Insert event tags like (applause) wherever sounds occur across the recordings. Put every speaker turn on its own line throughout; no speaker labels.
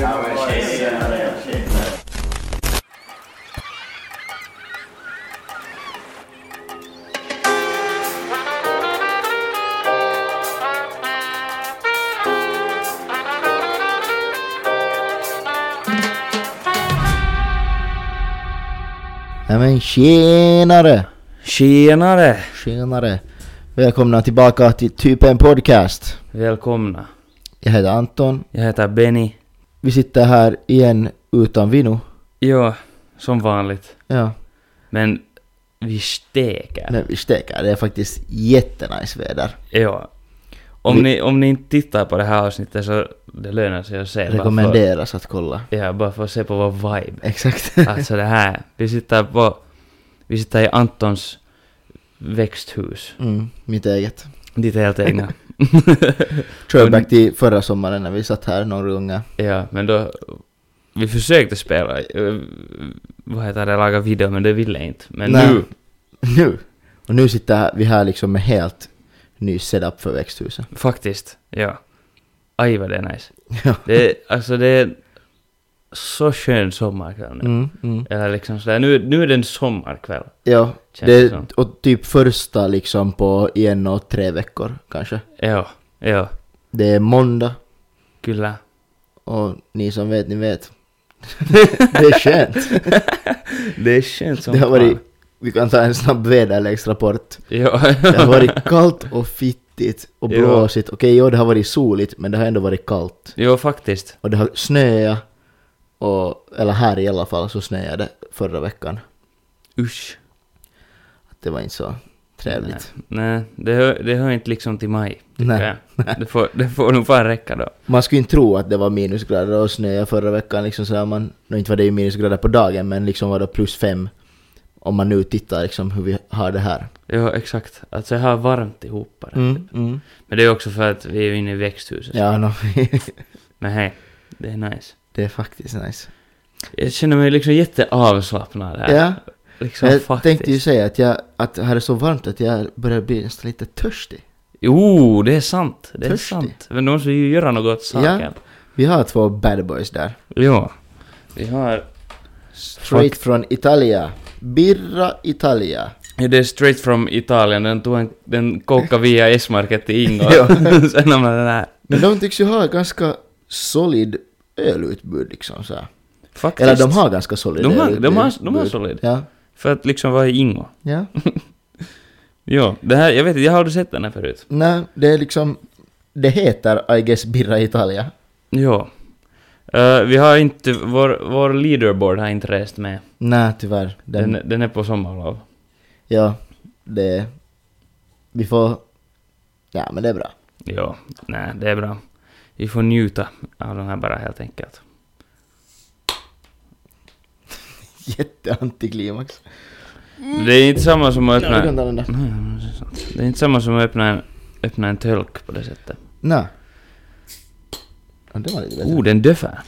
Ja, men tjenare, tjenare.
Nej men tjenare!
Tjenare!
Tjenare! Välkomna tillbaka till typ en podcast.
Välkomna.
Jag heter Anton.
Jag heter Benny.
Vi sitter här igen utan Vino.
Jo, som vanligt.
Ja.
Men vi steker.
Men vi steker, det är faktiskt jättenice väder.
Jo. Om, ni, om ni inte tittar på det här avsnittet så det lönar sig att se. Bara
Rekommenderas att
(laughs)
kolla.
för, ja, bara för att se på vår vibe. (laughs)
Exakt.
Alltså det här. Vi sitter på... Vi sitter i Antons växthus.
Mm, mitt eget.
Ditt helt egna.
Throwback till förra sommaren när vi satt här några gånger.
ja, men då... Vi försökte spela, eh, vad heter det, laga video, men det ville inte. Men
Nej.
nu,
(laughs) Nu! Och nu sitter vi här liksom med helt ny setup för växthuset.
Faktiskt, ja. Aj vad det är nice.
(laughs) Ja.
Det är, alltså det är så skön sommarkväll nu.
Mm, mm.
Eller liksom sådär, nu, nu är det en sommarkväll.
Ja,
Känns det
det,
som.
och typ första liksom på en och tre veckor kanske.
Ja, ja,
Det är måndag
kyllä.
och ni som vet, ni vet. (laughs) det är skönt.
Det är skönt som
Det har varit,
fan.
vi kan ta en snabb väderleksrapport.
Ja. (laughs)
Det har varit kallt och fittigt och
Ja.
blåsigt. Okej, jo det har varit soligt men det har ändå varit kallt.
jo, faktiskt.
Och det har snöat, och, eller här i alla fall så snöade det förra veckan.
Usch.
Det var inte så trevligt.
Nej, det hör, det hör inte liksom till mig. tycker
(laughs) Nej.
jag. Det får, det får nog fan räcka då.
Man skulle inte tro att det var minusgrader och snö förra veckan liksom så här, man, nu inte var det ju minusgrader på dagen men liksom var det plus fem om man nu tittar liksom hur vi har det här.
Jo, exakt. Alltså jag har varmt ihop bara.
Mm, mm.
Men det är också för att vi är ju inne i växthuset.
Ja, no. (laughs)
Men hej, det är nice.
det är faktiskt nice.
Jag känner mig liksom jätteavslappnad här.
Ja,
Liksom
jag
faktiskt.
tänkte ju säga att, jag, att här är så varmt att jag börjar bli nästan lite törstig.
Jo, det är sant. Det är
Törstig.
sant. Men de måste ju göra något åt saken.
Vi har två bad boys där.
Ja. Vi har...
Straight
Straight...
från Italia. Birra Italia.
Ja, det är straight from Italien. Den, tog en, den kokade via S-market till Ingo.
Ja.
(laughs) Sen har man den här.
Men de tycks ju ha ett ganska solid ölutbud liksom så här.
Faktiskt.
Eller de har ganska solid
De har-
ölutbud.
de har- de har solid.
Ja.
För att liksom vara i Ingo.
Ja.
Ja, det här... Jag vet inte, jag har aldrig sett den här förut.
Nej, det är liksom... Det heter I guess Birra Italia.
Ja. Eh, vi har inte... Vår, vår leaderboard har inte rest med.
Nej, tyvärr. Den,
Den, den, är på sommarlov.
Ja, det... Vi får... Ja, men det är bra. (laughs)
Ja, nej, det är bra. Vi får njuta av den här bara helt enkelt.
Jätteantiklimax.
Mm. Det är inte samma som att
Nej,
öppna...
du kan ta den där.
Nej, men det är sant. Det är inte samma som att öppna en, öppna en tölk på det sättet.
Nej. Ja, det var lite bättre.
Oh, den döfar.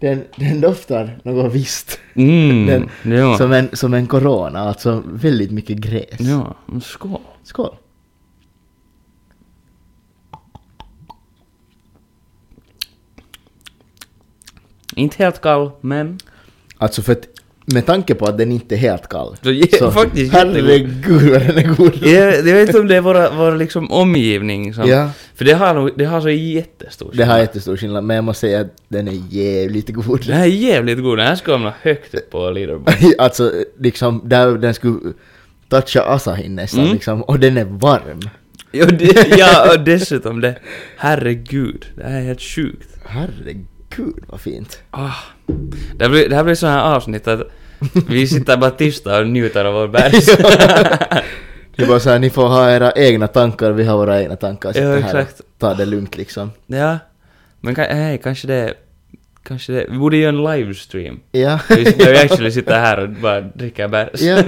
Den, den doftar något visst.
Mm, ja.
Som, en, som en corona, alltså väldigt mycket gräs.
Ja, men skål.
Skål.
Inte helt kall, men...
Alltså för att, med tanke på att den inte är helt kall.
Så, ja, faktiskt jättegod.
herregud vad den är god.
Jag, jag vet inte om det är vår, vår liksom omgivning som...
Ja.
För det har, nog- det har så jättestor
Det här
skillnad.
är jättestor skillnad, men jag måste säga att den är jävligt god.
Den här är jävligt god. Den här ska hamna högt upp på leaderboard.
(laughs) alltså, liksom, där den skulle toucha Asahin nästan
Mm.
liksom, och den är varm.
Ja, det, ja, och dessutom det. Herregud, det här är helt sjukt.
Herregud vad fint.
Ah. Det, här blir, det här blir sådana här avsnitt att vi sitter bara tysta och njuter av vår bärs.
(laughs) Det är bara såhär, ni får ha era egna tankar, vi har våra egna tankar. Sitta
Ja,
här och
exakt.
Ta det lugnt liksom.
ja. Men ka- hej, kanske det... Kanske det... Vi borde göra en livestream.
Ja.
Vi sitter- Där vi actually sitter här och bara dricker
(laughs)
bärs.
ja.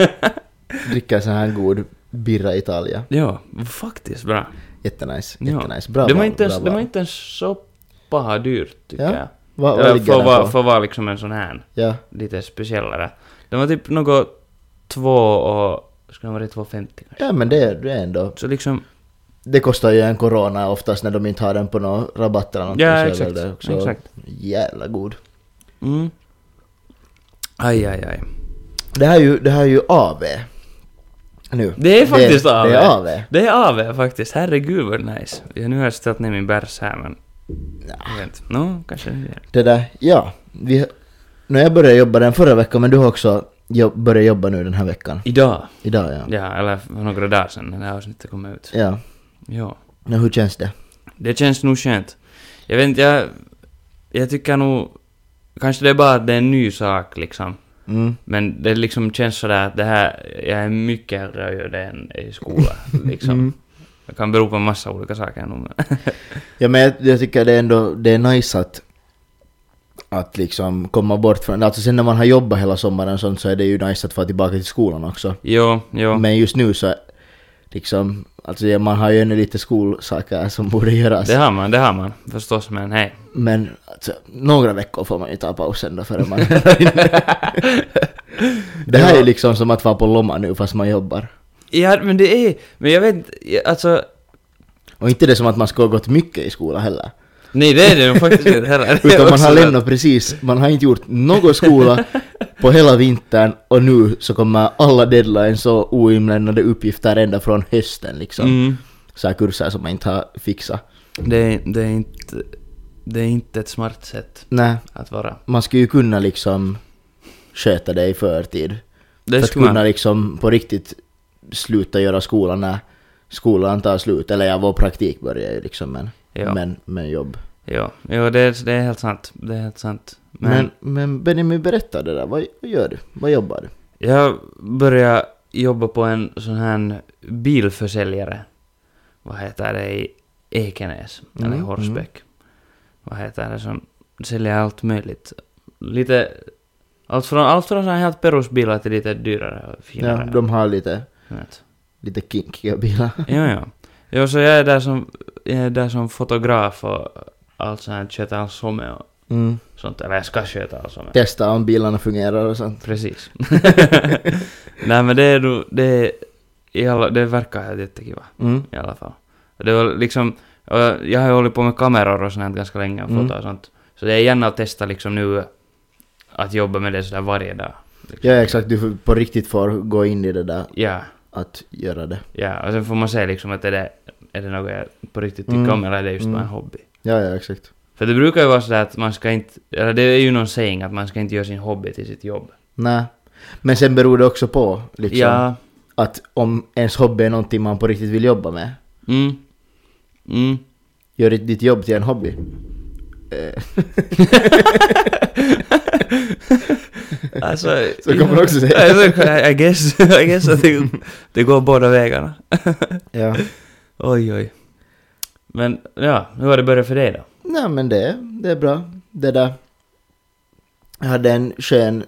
Dricka sån här god birra Italia.
ja, faktiskt bra.
Jättenice,
Ja.
jättenice. Bra
det var
val,
inte ens,
bra
det var
val.
inte ens så paha dyrt, tycker
Ja.
jag.
Vad- vad
Eller
ligger
för
den
att vara-
på?
för att vara liksom en sån här
Ja.
lite speciellare. Det var typ något två och... Skulle det vara 2,50 kanske?
ja, men det, det är ändå
Så liksom...
det kostar ju en corona oftast när de inte har den på någon rabatt eller någonting.
Ja,
så är väl
exakt.
det också
Exakt.
Jävla god.
Mm. Aj, aj, aj.
Det här är ju, det här är ju AV. Nu.
Det är faktiskt AV.
Det är AV.
Det är AV faktiskt. Herregud vad nice. Ja, nu har jag ställt ner min bärs här men... Jag vet inte. Nå, kanske det är.
Det där, ja. Vi, när jag började jobba den förra veckan, men du har också jobb, börjat jobba nu den här veckan.
Idag.
Idag ja.
Ja, eller för några dagar sedan när det här avsnittet kom ut.
Ja.
Ja.
Men hur känns det?
Det känns nog skönt. Jag vet inte, jag... Jag tycker nog... Kanske det är bara att det är en ny sak liksom.
Mm.
Men det liksom känns sådär att det här, jag är mycket hellre att göra det än i skolan. Liksom. Det kan bero på en massa olika saker nog. men- (laughs)
Ja men jag, jag tycker det är ändå, det är nice att att liksom komma bort från, alltså sen när man har jobbat hela sommaren och sånt så är det ju nice att vara tillbaka till skolan också.
jo, jo.
Men just nu så, liksom, alltså ja, man har ju ännu lite skolsaker som borde göras.
Det har man, det har man. Förstås, men hej.
Men alltså, några veckor får man ju ta pausen då
(laughs)
före man... det här är ju liksom som att vara på lomma nu fast man jobbar.
Ja, men det är... Men jag vet inte, alltså...
Och inte det som att man ska ha gått mycket i skolan
(laughs)
heller.
Nej, det är det nog faktiskt
(laughs)
inte heller. Det är
Utan man
också
har
det.
lämnat precis, man har inte gjort någon skola på hela vintern och nu så kommer alla deadlines och oinlämnade uppgifter ända från hösten liksom.
Mm.
Så här kurser som man inte har fixat.
Det är, det är inte... Det är inte ett smart sätt
Nej,
att vara.
man ska ju kunna liksom sköta det i förtid.
Det
för att
skulle
kunna
man...
liksom på riktigt sluta göra skolan när skolan tar slut. Eller ja, vår praktik börjar ju liksom men,
Ja.
men, men jobb.
Jo, jo det, är, det är helt sant. Det är helt sant.
Men,
Men,
men, Benjamin berätta det där, vad, vad gör du? Vad jobbar du?
jag började jobba på en sån här bilförsäljare. Vad heter det i Ekenäs? Eller i
Mm,
Horsbäck. Vad heter det som säljer allt möjligt. Lite... Allt från, allt från såna här helt perusbilar till lite dyrare och
Ja,
finare.
de har lite,
Vet.
lite kinkiga (laughs) bilar.
Ja, ja. Jo, så jag är där som, jag är där som fotograf och allt sånt här, sköter all somme och
Mm.
sånt. Eller jag ska sköta all somme.
Testa om bilarna fungerar och sånt. (laughs)
Precis. Nej men det är nog, det är, i alla, det verkar helt jättekul
Mm.
i alla fall. Och Det var liksom, och jag har ju hållit på med kameror och sånt här ganska länge och
Mm.
fotat och sånt. Så det är gärna att testa liksom nu att jobba med det sådär varje dag. Liksom.
Ja exakt, du får- på riktigt får gå in i det där
Ja,
att göra det.
ja, och sen får man se liksom att är det, är det något jag på riktigt tycker
Mm.
om eller är det just bara en
Mm.
hobby.
Ja, ja exakt.
För det brukar ju vara sådär att man ska inte, eller det är ju någon saying att man ska inte göra sin hobby till sitt jobb.
Nej. Men sen beror det också på liksom,
Ja.
att om ens hobby är någonting man på riktigt vill jobba med.
Mm. Mm.
Gör ditt, ditt jobb till en hobby.
(laughs) Alltså,
Så kan man också säga.
Alltså, I guess, (laughs) I guess att det, det går båda vägarna.
Ja.
Oj, oj. Men ja, hur har det börjat för dig då?
Nej men det, det är bra. Det där. Jag hade en skön,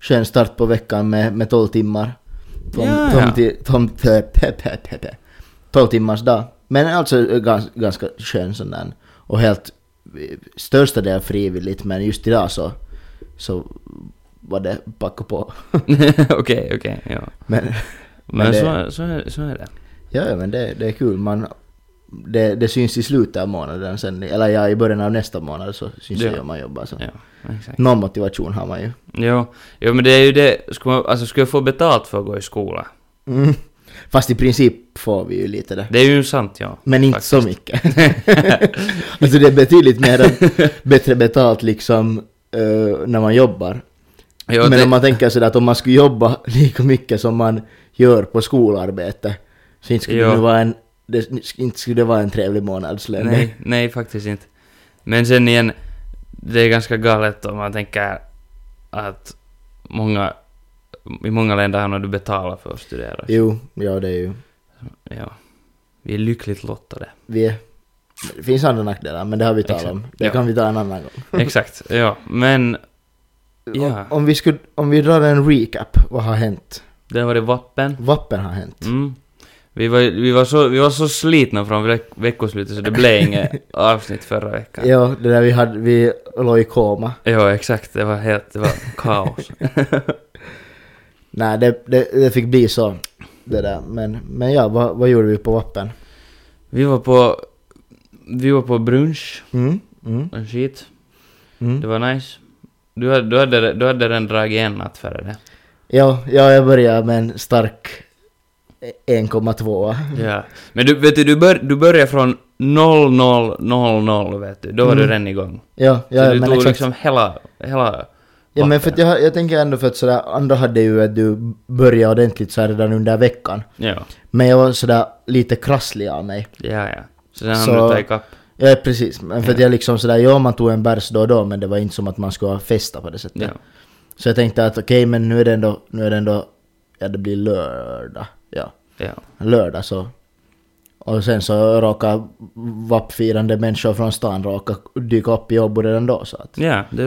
skön start på veckan med, med 12 timmar. Tom,
Ja,
tom,
ja.
ti- tom, pe, pe, pe, pe, pe. 12 timmars dag. Men alltså eh, gans, ganska skön sån där. Och helt eh, största del frivilligt men just idag så, så var det packa på.
(laughs) okej, okej, ja.
Men Men
Men,
det-
så, så, är, så är det.
Ja, ja, men det, det är kul. Man, det, det syns i slutet av månaden sen, eller ja, i början av nästa månad så syns
Ja.
det ju om man jobbar. Så.
Ja, exakt.
Någon motivation har man ju.
Jo, jo, men det är ju det, ska, man, alltså, ska jag få betalt för att gå i skola?
Mm. Fast i princip får vi ju lite det.
Det är ju sant, ja.
Men inte så mycket. (laughs) alltså det är betydligt mer, bättre betalt liksom eh, när man jobbar.
Jo,
men
det,
om man tänker sådär att om man skulle jobba (laughs) lika mycket som man gör på skolarbete så inte skulle
Ja.
det vara en, det, inte skulle det vara en trevlig månadslön.
nej, nej, faktiskt inte. Men sen igen, det är ganska galet om man tänker att många, i många länder har nog du betalar för att studera.
Jo, ja det är ju.
Ja. Vi är lyckligt lottade.
vi är, det finns andra nackdelar, men det har vi talat
Exakt.
om. Det
Ja.
kan vi ta en annan gång.
Exakt, ja. Men Ja.
Om, om, vi skulle, om vi drar en recap, vad har hänt?
det var det vapen.
Vappen har hänt.
Mm. Vi, var, vi, var så, vi var så slitna från veck- veckoslutet så det blev inget avsnitt förra veckan. Ja.
Ja, det där vi hade, vi låg i koma.
exakt. Det var helt, det var kaos.
Nej, det, det, det fick bli så. Det där. Men, men ja, vad, vad gjorde vi på vappen?
Vi var på, vi var på brunch
Mm, mm,
och shit. Det
mm.
var nice. Du hade, du hade, du hade redan dragit en natt före det.
Ja, ja, jag börjar med en stark 1,2.
Ja. Men du, vet du, du, bör, du började från 0000 vet du. Då var du
Mm.
redan igång.
Ja,
så
ja
du
men
tog
exakt.
liksom hela, hela
Ja men
backen.
för att jag, jag tänker ändå för att sådär, andra hade ju att du började ordentligt så här redan under veckan.
Ja,
Men jag var sådär lite krasslig av mig.
ja, ja. Så sen hann
Så-
du ta ikapp.
Ja precis, men för att jag liksom sådär, ja man tog en bärs då och då men det var inte som att man skulle ha festa på det sättet.
Ja.
Så jag tänkte att okej men nu är det ändå, nu är det ändå, ja det blir lördag. Ja,
ja.
lördag så. Och sen så råkade vappfirande människor från stan råka dyka upp i Åbo redan då så att
Ja, det...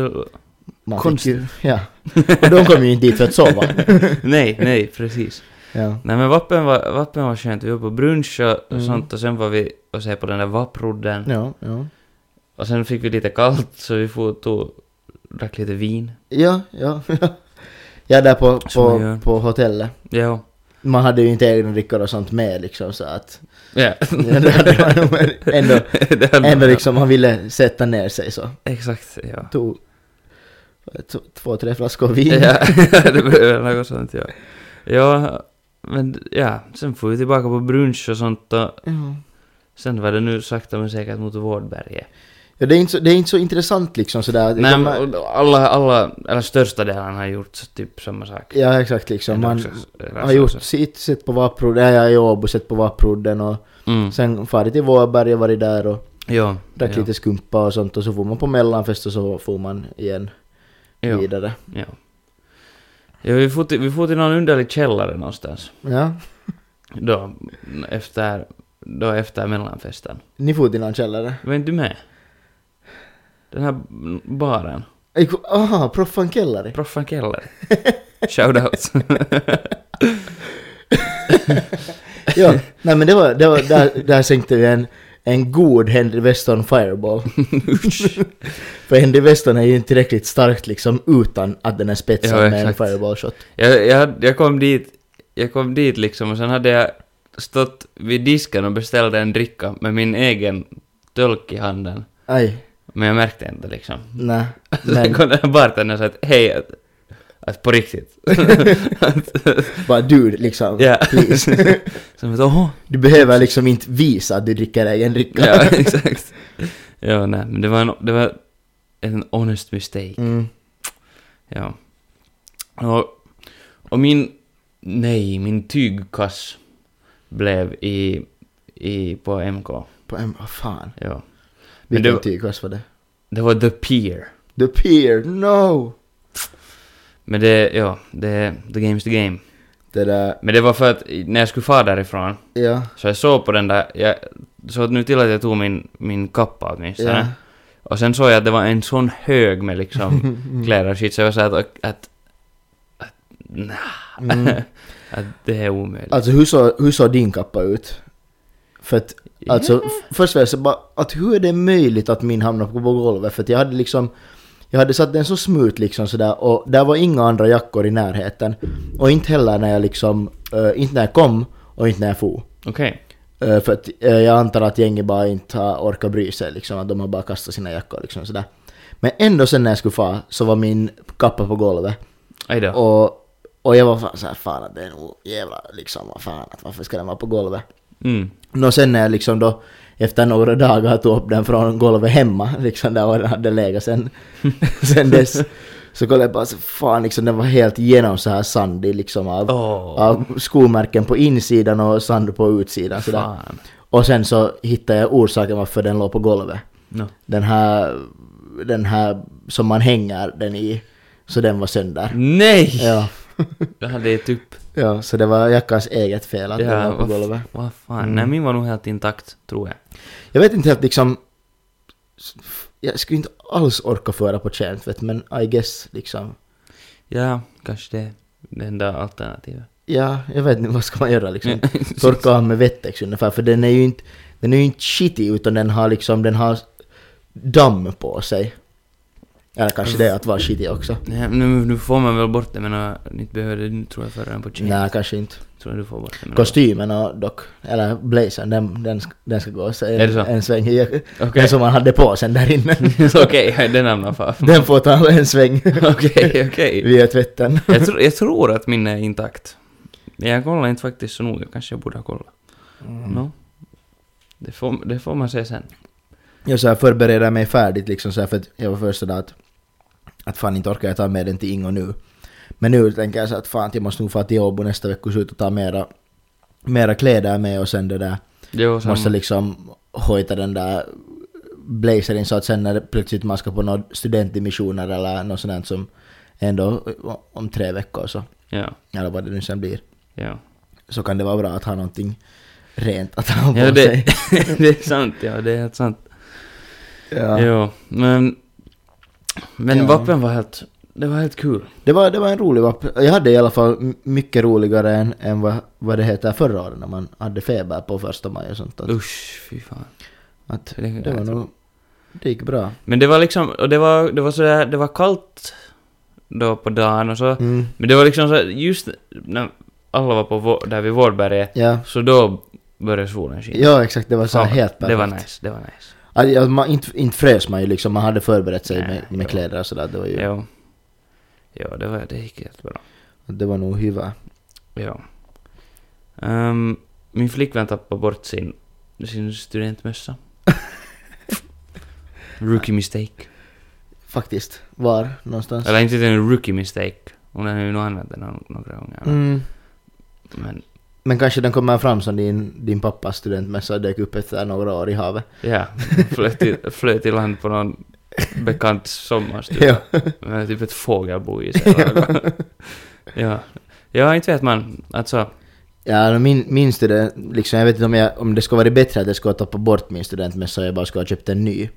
(laughs)
man fick
Konstigt.
ju, ja. Och de kom ju inte dit för att
(laughs)
sova.
nej, nej, precis.
Ja.
Nej men vappen var, vappen var skönt. Vi var på brunch och sånt och sen var vi och se på den där vapprodden.
Mm. Ja, ja.
Och sen fick vi lite kallt så vi for tog, drack lite vin.
Ja, ja, ja. Jag är där på,
Som man
på,
gör.
på hotellet.
Ja.
Man hade ju inte egna drickor och sånt med liksom så
(laughs)
att...
Ja.
Ja, (laughs) det hade man nog, men ändå,
Det hade
ändå
man-
liksom, han ville sätta ner sig så.
Exakt, ja.
Tog t- två, tre flaskor vin.
Ja, (laughs) det behöver något sånt ja. Ja, men ja, sen får vi tillbaka på brunch och sånt och
Ja.
sen var det nu sakta men säkert mot Vårdberget.
Ja, det, är inte så, det är inte så intressant liksom sådär.
Nej,
De-
men alla, alla, eller största delen har gjort typ samma sak. alltså,
Ja, exakt liksom. Man har
gjort...
gjort sitt, sett på Vapprodden, ja, jag är i Åbo, sett på Vapprodden och
Mm.
sen farit till Vårberga, varit där och
Ja.
drack
ja,
lite skumpa och sånt och så får man på mellanfest och så får man igen
ja,
vidare.
Ja. Ja, vi får till, vi får till någon underlig källare någonstans.
Ja.
Då, efter, då efter mellanfesten.
Ni for till någon källare?
Var inte du med? Den här baren.
Ej, ko- Aha, Proffan Kellari? (laughs)
Proffan Keller. Shoutout.
Ja,
(laughs)
nej men det var, det var där, där sänkte vi en, en god Henry Weston Fireball. (laughs) För Henry Weston är ju inte tillräckligt starkt liksom utan att den är spetsad
Ja,
med en
exakt.
fireball shot.
jag, jag, hade- jag kom dit, jag kom dit liksom och sen hade jag stått vid disken och beställde en dricka med min egen tölk i handen.
Aj,
Men jag märkte inte liksom.
nej.
(laughs) Sen
Men
kom den här bartendern och sa att hej, att, att på riktigt.
bara dude liksom.
(laughs) Ja.
Please.
Sen vet jag, åh.
Du behöver liksom inte visa att du dricker egen dricka.
Ja, (laughs) exakt. Ja, nej, men det var en, det var en honest mistake.
(laughs) Mm.
Ja. Och, och min, nej, min tygkass blev i, i, på MK.
På en, vad fan.
Ja. Men
Vilken
det-
tygkass var det?
Det var The Pier.
The Pier, no!
Men det, ja, det, the game's the game.
Det där,
Men det var för att i- när jag skulle fara därifrån,
ja.
så jag såg på den där, jag såg nu till att jag tog min, min kappa åtminstone.
ja.
Och sen såg jag att det var en sån hög
(laughs)
med liksom kläder och shit, så jag var såhär att, att, att, nah, (laughs)
Mm.
att det är omöjligt.
Alltså hur såg hur såg din kappa ut? För att Alltså, f- först var jag så bara, att hur är det möjligt att min hamnade på golvet? För att jag hade liksom, jag hade satt den så smut liksom sådär och där var inga andra jackor i närheten. Och inte heller när jag liksom, eh, inte när jag kom och inte när jag for.
Okej.
Eh, för att eh, jag antar att gänget bara inte har orkat bry sig liksom, att de har bara kastat sina jackor liksom sådär. Men ändå sen när jag skulle fara så var min kappa på golvet.
Aj då.
Och, och jag var fan såhär, fan att det är nog jävla liksom, vad fan, att varför ska den vara på golvet?
Mm.
Nå sen när jag liksom då efter några dagar tog upp den från golvet hemma, liksom där var den hade legat sen, (laughs) sen dess. Så kollade jag bara så fan liksom den var helt genom så här sandig liksom av,
Åh,
av skomärken på insidan och sand på utsidan sådär.
fan.
Och sen så hittade jag orsaken varför den låg på golvet.
No.
Den här, den här som man hänger den i, så den var sönder.
Nej!
Ja,
Jag hade gett upp.
ja så det var Jackans eget fel att den
Ja,
låg på
vad
golvet. Mm.
f- vad fan. Nej, min var nog helt intakt, tror jag.
Jag vet inte helt liksom... Jag skulle inte alls orka föra på känt vet men I guess liksom...
Ja, kanske det är det enda alternativet.
Ja, jag vet inte, vad ska man göra
(laughs)
liksom? Torka av med Vettex ungefär, för den är ju inte... Den är ju inte skitig utan den har liksom, den har damm på sig. Eller kanske det att vara skitig också.
Nej, Eh, nu, nu får man väl bort det men uh, inte behöver det tror jag förrän på tjejen.
Nej, kanske inte.
Tror jag du får bort det. men-
Kostymen och dock, eller blazern, den, den, ska- den ska gå så
Är det
en,
så?
en sväng. i- (laughs)
Okej.
Den som man hade på sen där inne.
(laughs) Okej, den hamnar far.
Den får ta en sväng
(laughs) Mm. Okej, okej.
via tvätten.
Jag tror- Jag tror att min är intakt. Men jag kollar inte faktiskt så noga, kanske jag borde ha kollat.
Mm.
No. Det får, det får man se sen.
Jag så här förbereder mig färdigt liksom så här för att jag var först sådär att, att fan inte orkar jag ta med den till Ingo nu. Men nu tänker jag så att fan jag måste nog få till Åbo nästa vecka och ut och ta mera, mera kläder med och sen det där.
Det var samma.
Måste liksom hojta den där blazerin så att sen när det plötsligt man ska på några studentdimissioner eller något sånt där som ändå eh, om tre veckor så,
Ja,
eller vad det nu sen blir,
ja.
så kan det vara bra att ha någonting rent att ha på
ja det,
sig.
(laughs) det är sant, ja det är helt sant.
Ja.
Ja. Jo, men... Men
Ja.
vapen var helt... Det var helt kul.
Det var, det var en rolig vapp. Jag hade i alla fall m- mycket roligare än, än vad, vad det heter förra året när man hade feber på första maj och sånt. Att,
Usch, fy fan.
att
Mm. Det,
det var nog... Det gick bra.
Men det var liksom... Och det var, det var sådär... Det var kallt då på dagen och så.
Mm.
Men det var liksom så just när alla var på vår, där vid Vårdberget,
Ja.
så då började solen skina.
ja, exakt. Det var så här
Fan,
helt perfekt.
Det var nice, det var nice.
Att, ja, man, inte, inte frös man ju liksom. Man hade förberett sig
Nej,
med, med
jo.
kläder och sådär. Det var ju...
Jo. Jo, det, var, det gick helt bra.
Det var nog hyvä.
Ja. Ehm, min flickvän tappade bort sin,
(laughs)
sin studentmössa. rookie mistake.
Faktiskt. Var någonstans?
Eller inte en rookie mistake. Hon har ju nog använt den nå- några gånger. men-
Mm.
Men
Men kanske den kommer fram som din, din pappas studentmässa dök upp efter några år i havet.
(laughs) ja, flöt i, flöt i land på någon bekant sommarstuga.
Ja.
Men typ ett fågelbo i sig. (laughs) eller något. ja. ja, inte vet man. Alltså,
Ja, no, min, min student, liksom, jag vet inte om, jag, om det skulle varit bättre att jag skulle ha tappat bort min studentmössa och jag bara skulle ha köpt en ny.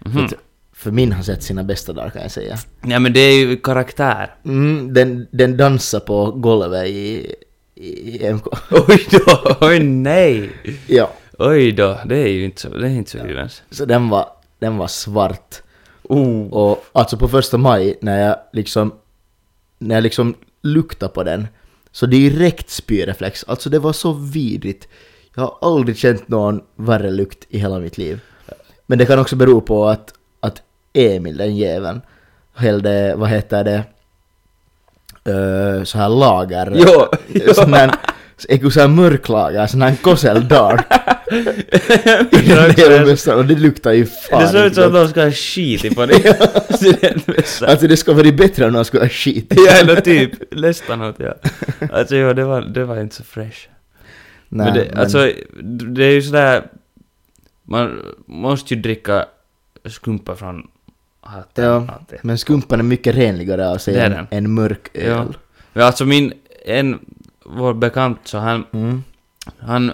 För,
mhm.
att- för min har sett sina bästa dagar kan jag säga.
ja men det är ju karaktär.
Mm, den, den dansar på golvet i, i MK.
Oj då, oj nej!
Ja,
Oj då, det är ju inte så, det är inte så kul ens.
så den var, den var svart.
Oh.
Och alltså på första maj när jag liksom, när jag liksom luktar på den, så direkt spyreflex. Alltså det var så vidrigt. Jag har aldrig känt någon värre lukt i hela mitt liv. Men det kan också bero på att, att Emil, den jäveln, hällde, vad heter det, uh, så här lager.
Jo, jo.
Sån här, eko så här mörklager, sån här kossel dark.
(laughs) Det är
det,
också-
är det, bästa, och det luktar ju fan
det ser ut
inte
som att
gott.
någon ska ha skit i på (laughs) dig. Studentmössa.
Alltså det skulle varit bättre om någon skulle ha skit.
(laughs) Ja, eller typ. Nästan åt (laughs) ja. Alltså ja, det var, det var inte så fresh.
Nej,
men det, alltså, det är ju sådär... Man måste ju dricka skumpa från hatten.
Ja.
alltid.
men skumpan är mycket renligare av sig
Det är
än,
den.
än mörk
Ja.
öl.
Men alltså min, en, vår bekant så han,
Mm.
han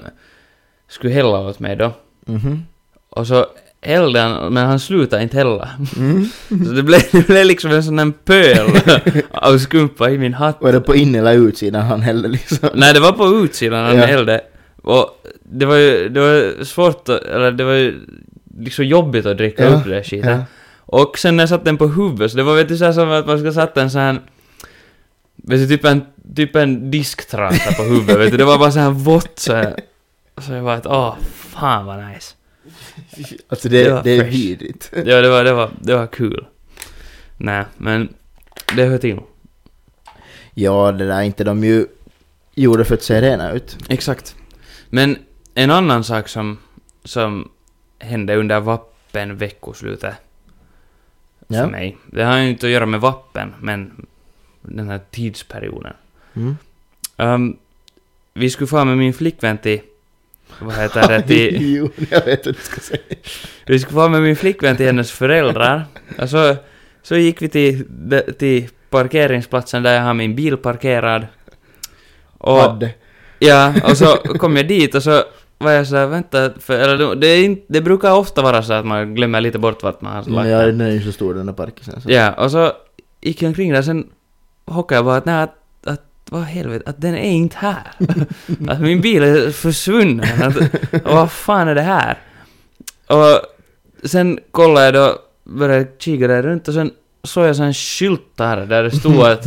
skulle hälla åt mig då.
Mhm.
Och så hällde han, men han slutade inte hälla.
Mm.
(laughs) Så det blev, det blev liksom en sån där pöl
(laughs)
av skumpa i min hatt.
Var det på in eller utsidan han hällde liksom?
Nej, det var på utsidan han
Ja.
hällde. Och det var ju, det var svårt att, eller det var ju liksom jobbigt att dricka
Ja,
upp det där skiten. Och sen när jag satte den på huvudet, så det var vet du så här som att man ska sätta en sån här... Vet du, typ en, typ en disktrasa på huvudet, vet du. Det var bara så här vått så här. Så jag bara att åh, fan vad nice.
Alltså det,
Det var
det är
fresh.
vidrigt.
Ja, det var, det var, det var kul. Nej, men det hör till.
Ja, det där inte de ju gjorde för att se rena ut.
Exakt. Men en annan sak som, som hände under vapenveckoslutet
Ja.
för mig. Det har ju inte att göra med vapen, men den här tidsperioden.
Mm.
Ehm, vi skulle fara med min flickvän till... Vad
(laughs)
heter det? Till,
jo, jag vet vad du ska säga.
vi skulle fara med min flickvän till hennes föräldrar. Och så, så gick vi till, de- till parkeringsplatsen där jag har min bil parkerad. Och,
Vad?
ja, och så kom jag dit och så var jag sådär, vänta, för, eller det- det, är inte, det brukar ofta vara så att man glömmer lite bort vart man har lagt
Men
den.
jag den är ju så stor den där parkisen. Så.
Ja, och så gick jag omkring där, sen hockade jag bara att nej, att, att vad helvete, att den är inte
(laughs)
här. att min bil är försvunnen. Att, vad fan är det här? Och sen kollade jag då, började kika där runt och sen såg jag sån skyltar där det stod
(laughs)
att,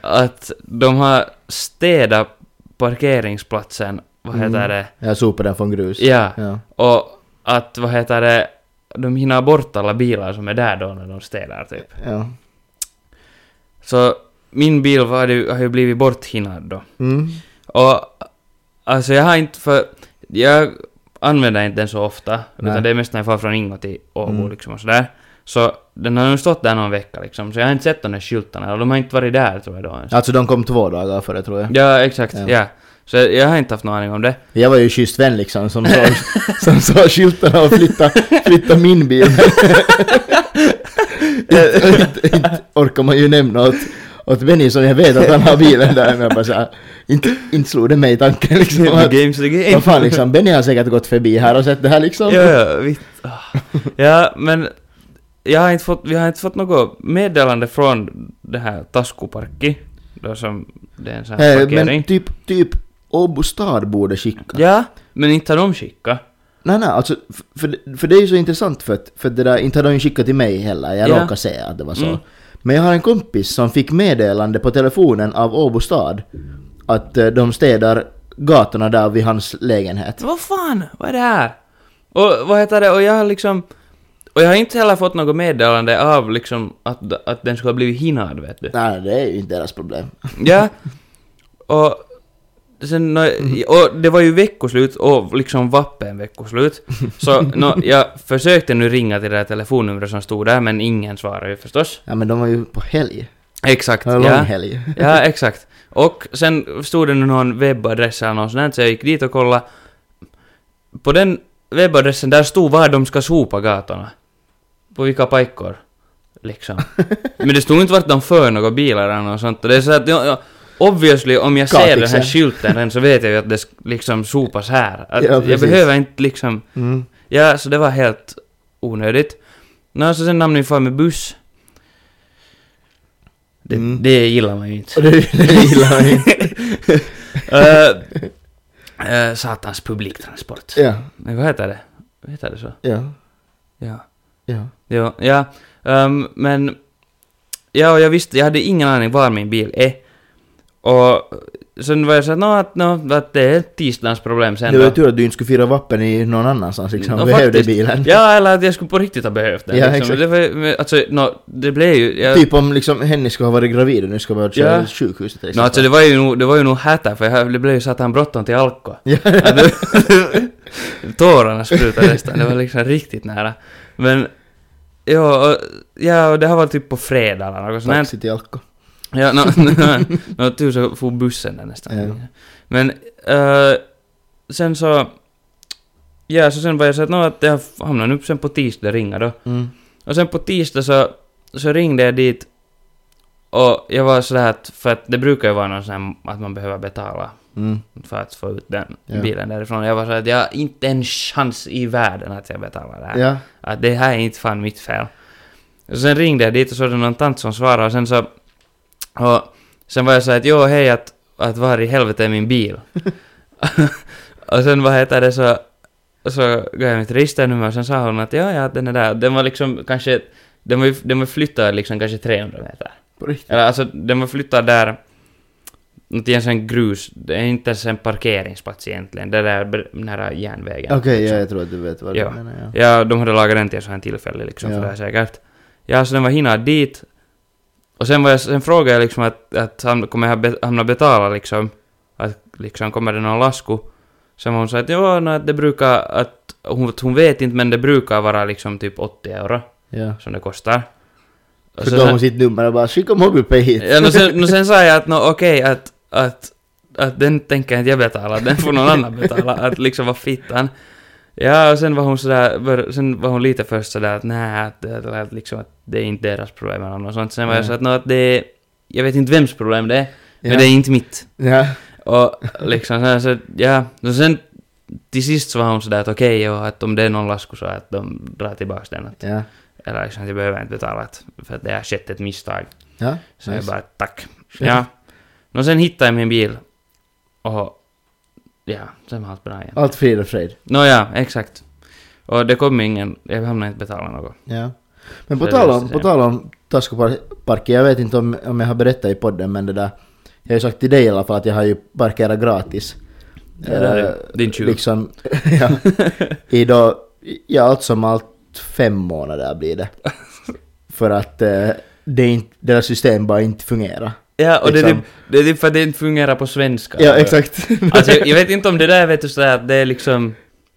att de har städat parkeringsplatsen, vad heter
Mm.
det?
Jag sopar den från grus.
Ja,
Ja.
och att vad heter det, de hinner bort alla bilar som är där då när de städar typ.
ja.
Så min bil var ju, har ju blivit borthinnad då.
Mm.
Och alltså jag har inte för... Jag använder inte den så ofta.
Nej.
Utan det är mest när jag far från Ingo till Åbo
Mm.
liksom och sådär. Så den har nu stått där någon vecka liksom. Så jag har inte sett de där skyltarna. Och de har inte varit där tror jag då ens.
Alltså de kom två dagar före tror jag.
Ja, exakt.
Ja.
Ja. Så jag, jag har inte haft någon aning om det.
Jag var ju schysst vän liksom som sa, (laughs) som sa skyltarna och flytta, flytta min bil. (laughs) inte, inte, inte orkar man ju nämna åt, åt Benny som jag vet att han har bilen där. Men jag bara så här, inte, inte slog det mig i tanken liksom. Att,
the game's the game.
vad fan liksom, Benny har säkert gått förbi här och sett det här liksom.
ja, ja, vitt. Ah. ja, men... Jag har inte fått, vi har inte fått något meddelande från det här Taskuparkki. Då som det är en sån här
Eh,
parkering.
men typ, typ Åbo stad borde skicka.
Ja, men inte har de skickat.
Nej, nej, alltså, f- för, för det är ju så intressant för att, för att det där, inte hade de ju skickat till mig heller, jag
Ja.
råkade säga att det var så.
Mm.
Men jag har en kompis som fick meddelande på telefonen av Åbo stad att eh, de städar gatorna där vid hans lägenhet.
Vad fan, vad är det här? Och vad heter det, och jag har liksom... Och jag har inte heller fått något meddelande av liksom att, att den skulle ha blivit hinad, vet du.
Nej, det är ju inte deras problem.
Ja. Och... Sen, nå-
Mhm.
och det var ju veckoslut och liksom vappen veckoslut.
(laughs)
Så nå, jag försökte nu ringa till det här telefonnumret som stod där, men ingen svarade ju förstås.
Ja, men de var ju på helg.
Exakt,
Det var en
ja.
lång helg.
Ja, exakt. Och sen stod det nu någon webbadress eller något sånt där, så jag gick dit och kollade. På den webbadressen där stod var de ska sopa gatorna. På vilka pajkor.
(laughs)
Liksom. Men det stod inte vart de för några bilar eller något sånt. Och Det är så att, ja, ja, obviously, om jag ser den här
Katixen.
skylten än så vet jag ju att det sk- liksom sopas här. Att
Ja,
jag
precis.
behöver inte liksom... (laughs)
Mm.
Ja, så det var helt onödigt. Nå, så sen hamnade vi far med buss. Det,
Mm.
det gillar man ju inte.
Och det, det gillar jag inte.
(laughs) Eh, eh, satans publiktransport.
(laughs) Ja,
Nej, vad heter det? Vad heter det så?
ja,
Ja.
ja.
Jo, ja. ehm, men... Ja, och jag visste, jag hade ingen aning var min bil är. Och sen var jag såhär, nå, att, nå, att det är tisdagens problem sen
Det var
då.
ju tur att du inte skulle fira vapen i någon annanstans liksom,
Nå,
behövde
faktiskt.
bilen.
Ja, eller att jag skulle på riktigt ha behövt den.
Ja,
liksom.
exakt.
det, var, men alltså, nå, det blev ju... Jag,
Typ om liksom Henny ska ha varit gravid och nu ska vara
Ja.
till sjukhuset till
nå, alltså, det var ju nog, det var ju nog häta, för jag, det blev ju satan bråttom till alkohol.
(laughs) Ja.
Ja, det- (laughs) Tårarna sprutade nästan, det var liksom riktigt nära. Men... Ja, och, ja, och det här var typ på fredag eller något sånt. här.
Taxi till alko.
Ja, nå, (laughs) nå, nå, tur så for bussen där nästan.
Ja.
Men eh, sen så... Ja, så sen var jag så att, nå, att jag hamnade nu sen på tisdag ringa då.
Mm.
Och sen på tisdag så, så ringde jag dit och jag var sådär att, för att det brukar ju vara någon sån här att man behöver betala
Mm.
för att få ut den
Ja.
bilen därifrån. Jag var så att jag har inte en chans i världen att jag betalar det här.
Ja.
Att det här är inte fan mitt fel. Och sen ringde jag dit och så var det någon tant som svarade och sen så... Och sen var jag så här att jo hej att, att var i helvete är min bil? (laughs) och sen vad heter det så... Så gav jag mitt registernummer och sen sa hon att ja, ja, den är där. Den var liksom kanske... Den var, ju- den var flyttad liksom kanske 300 meter.
På riktigt.
Eller alltså, den var flyttad där... Något i en sån grus... Det är inte ens en parkeringsplats egentligen. Det där br- nära järnvägen.
Okej, ja, jag tror att du vet vad
Ja.
du menar. Ja.
Ja, de hade lagat den till så här tillfälle liksom,
Ja.
för det här säkert. Ja, så den var hinad dit. Och sen, var jag, sen frågade jag liksom att, att han kommer jag be, hamna betala liksom. Att liksom kommer det någon lasku. Sen var hon sa att jo, no, att det brukar att hon, att hon vet inte men det brukar vara liksom typ 80 euro
ja.
som det kostar. Och
Så
så
gav
sen-
hon sitt nummer och bara skicka mobilpay hit.
Ja, no, sen, no, sen sa jag att no, okej, att, att, att den tänker inte jag betala, den får någon annan betala, att liksom vad fittan. Ja, och sen var hon sådär, bör- sen var hon lite först sådär att nej, att, att, att, liksom, att det är inte deras problem eller något sånt. Sen var jag
Mm.
så att, no, att det är, jag vet inte vems problem det är,
(laughs)
men
Ja.
det är inte mitt.
Ja.
Och liksom så, här, så ja, och sen till sist så var hon sådär att okej, jo, att om det är någon lasku så att de drar tillbaks den. Att,
Ja.
eller liksom, att jag behöver inte betala, att, för att det har skett ett misstag.
Ja.
Så jag
nice.
bara tack. Ja. No sen hittade jag min bil. Och... Ja, sen var allt bra igen.
Allt frid och fröjd.
Nåja, exakt. Och det kom ingen, jag hamnade inte betala något.
Ja. Men på
Så
tal
det
om,
måste
på
jag
tal om Toscaparken, jag vet inte om, om jag har berättat i podden men det där, jag har ju sagt till dig i alla fall att jag har ju parkerat gratis.
Det där är
Eh,
din tjuv.
Liksom, (laughs)
(laughs)
ja, i då, ja allt som allt fem månader blir
(laughs)
det. För att eh, det är inte, deras system bara inte fungerar.
Ja, och det, är
Liksom.
typ, det är typ för att det inte fungerar på svenska.
Ja, exakt.
Alltså, jag, jag vet inte om det där vet du sådär att det är liksom...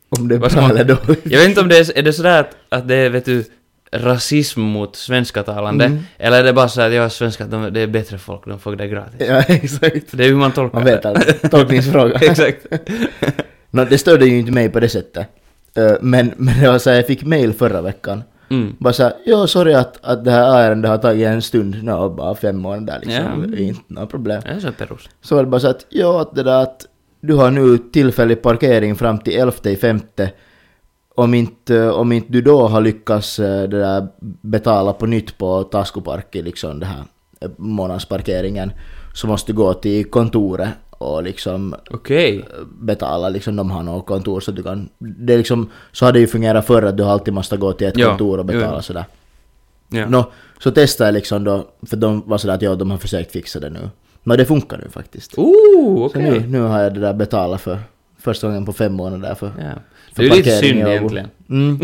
(laughs) om det är
vad ska man-
bra eller dåligt.
Jag vet inte om det är, är det sådär att, att det är vet du rasism mot svensktalande.
Mm.
Eller är det bara så att ja, svenskar, de, det är bättre folk, de får det gratis.
(laughs) Ja, exakt.
Det är hur man tolkar
Man vet
det.
aldrig.
(laughs)
Tolkningsfråga.
Exakt.
(laughs) Nå, det störde ju inte mig på det sättet. Eh, Men, men det var så här, jag fick mail förra veckan.
Mm.
Bara såhär, ja sorry att, att det här ärendet har tagit en stund, nå bara fem månader liksom,
Ja.
inte några problem.
Det är så perus.
Så var det bara så att, ja att det där att du har nu tillfällig parkering fram till 11 i femte. Om inte, om inte du då har lyckats eh, det där, betala på nytt på Taskuparken, liksom det här eh, månadsparkeringen, så måste du gå till kontoret och liksom
Okej.
betala liksom, de har något kontor så du kan... Det är liksom, så har det ju fungerat förr att du alltid måste gå till ett
Ja,
kontor och betala
jo, jo.
sådär.
Ja.
Nå, så testade jag liksom då, för de var sådär att ja, de har försökt fixa det nu. Men det funkar nu faktiskt.
Ooh,
Så
okej.
nu, nu har jag det där betalat för första gången på fem månader för,
Ja.
för
Det är ju lite
parkering i
synd
Åbo.
egentligen.
Mm.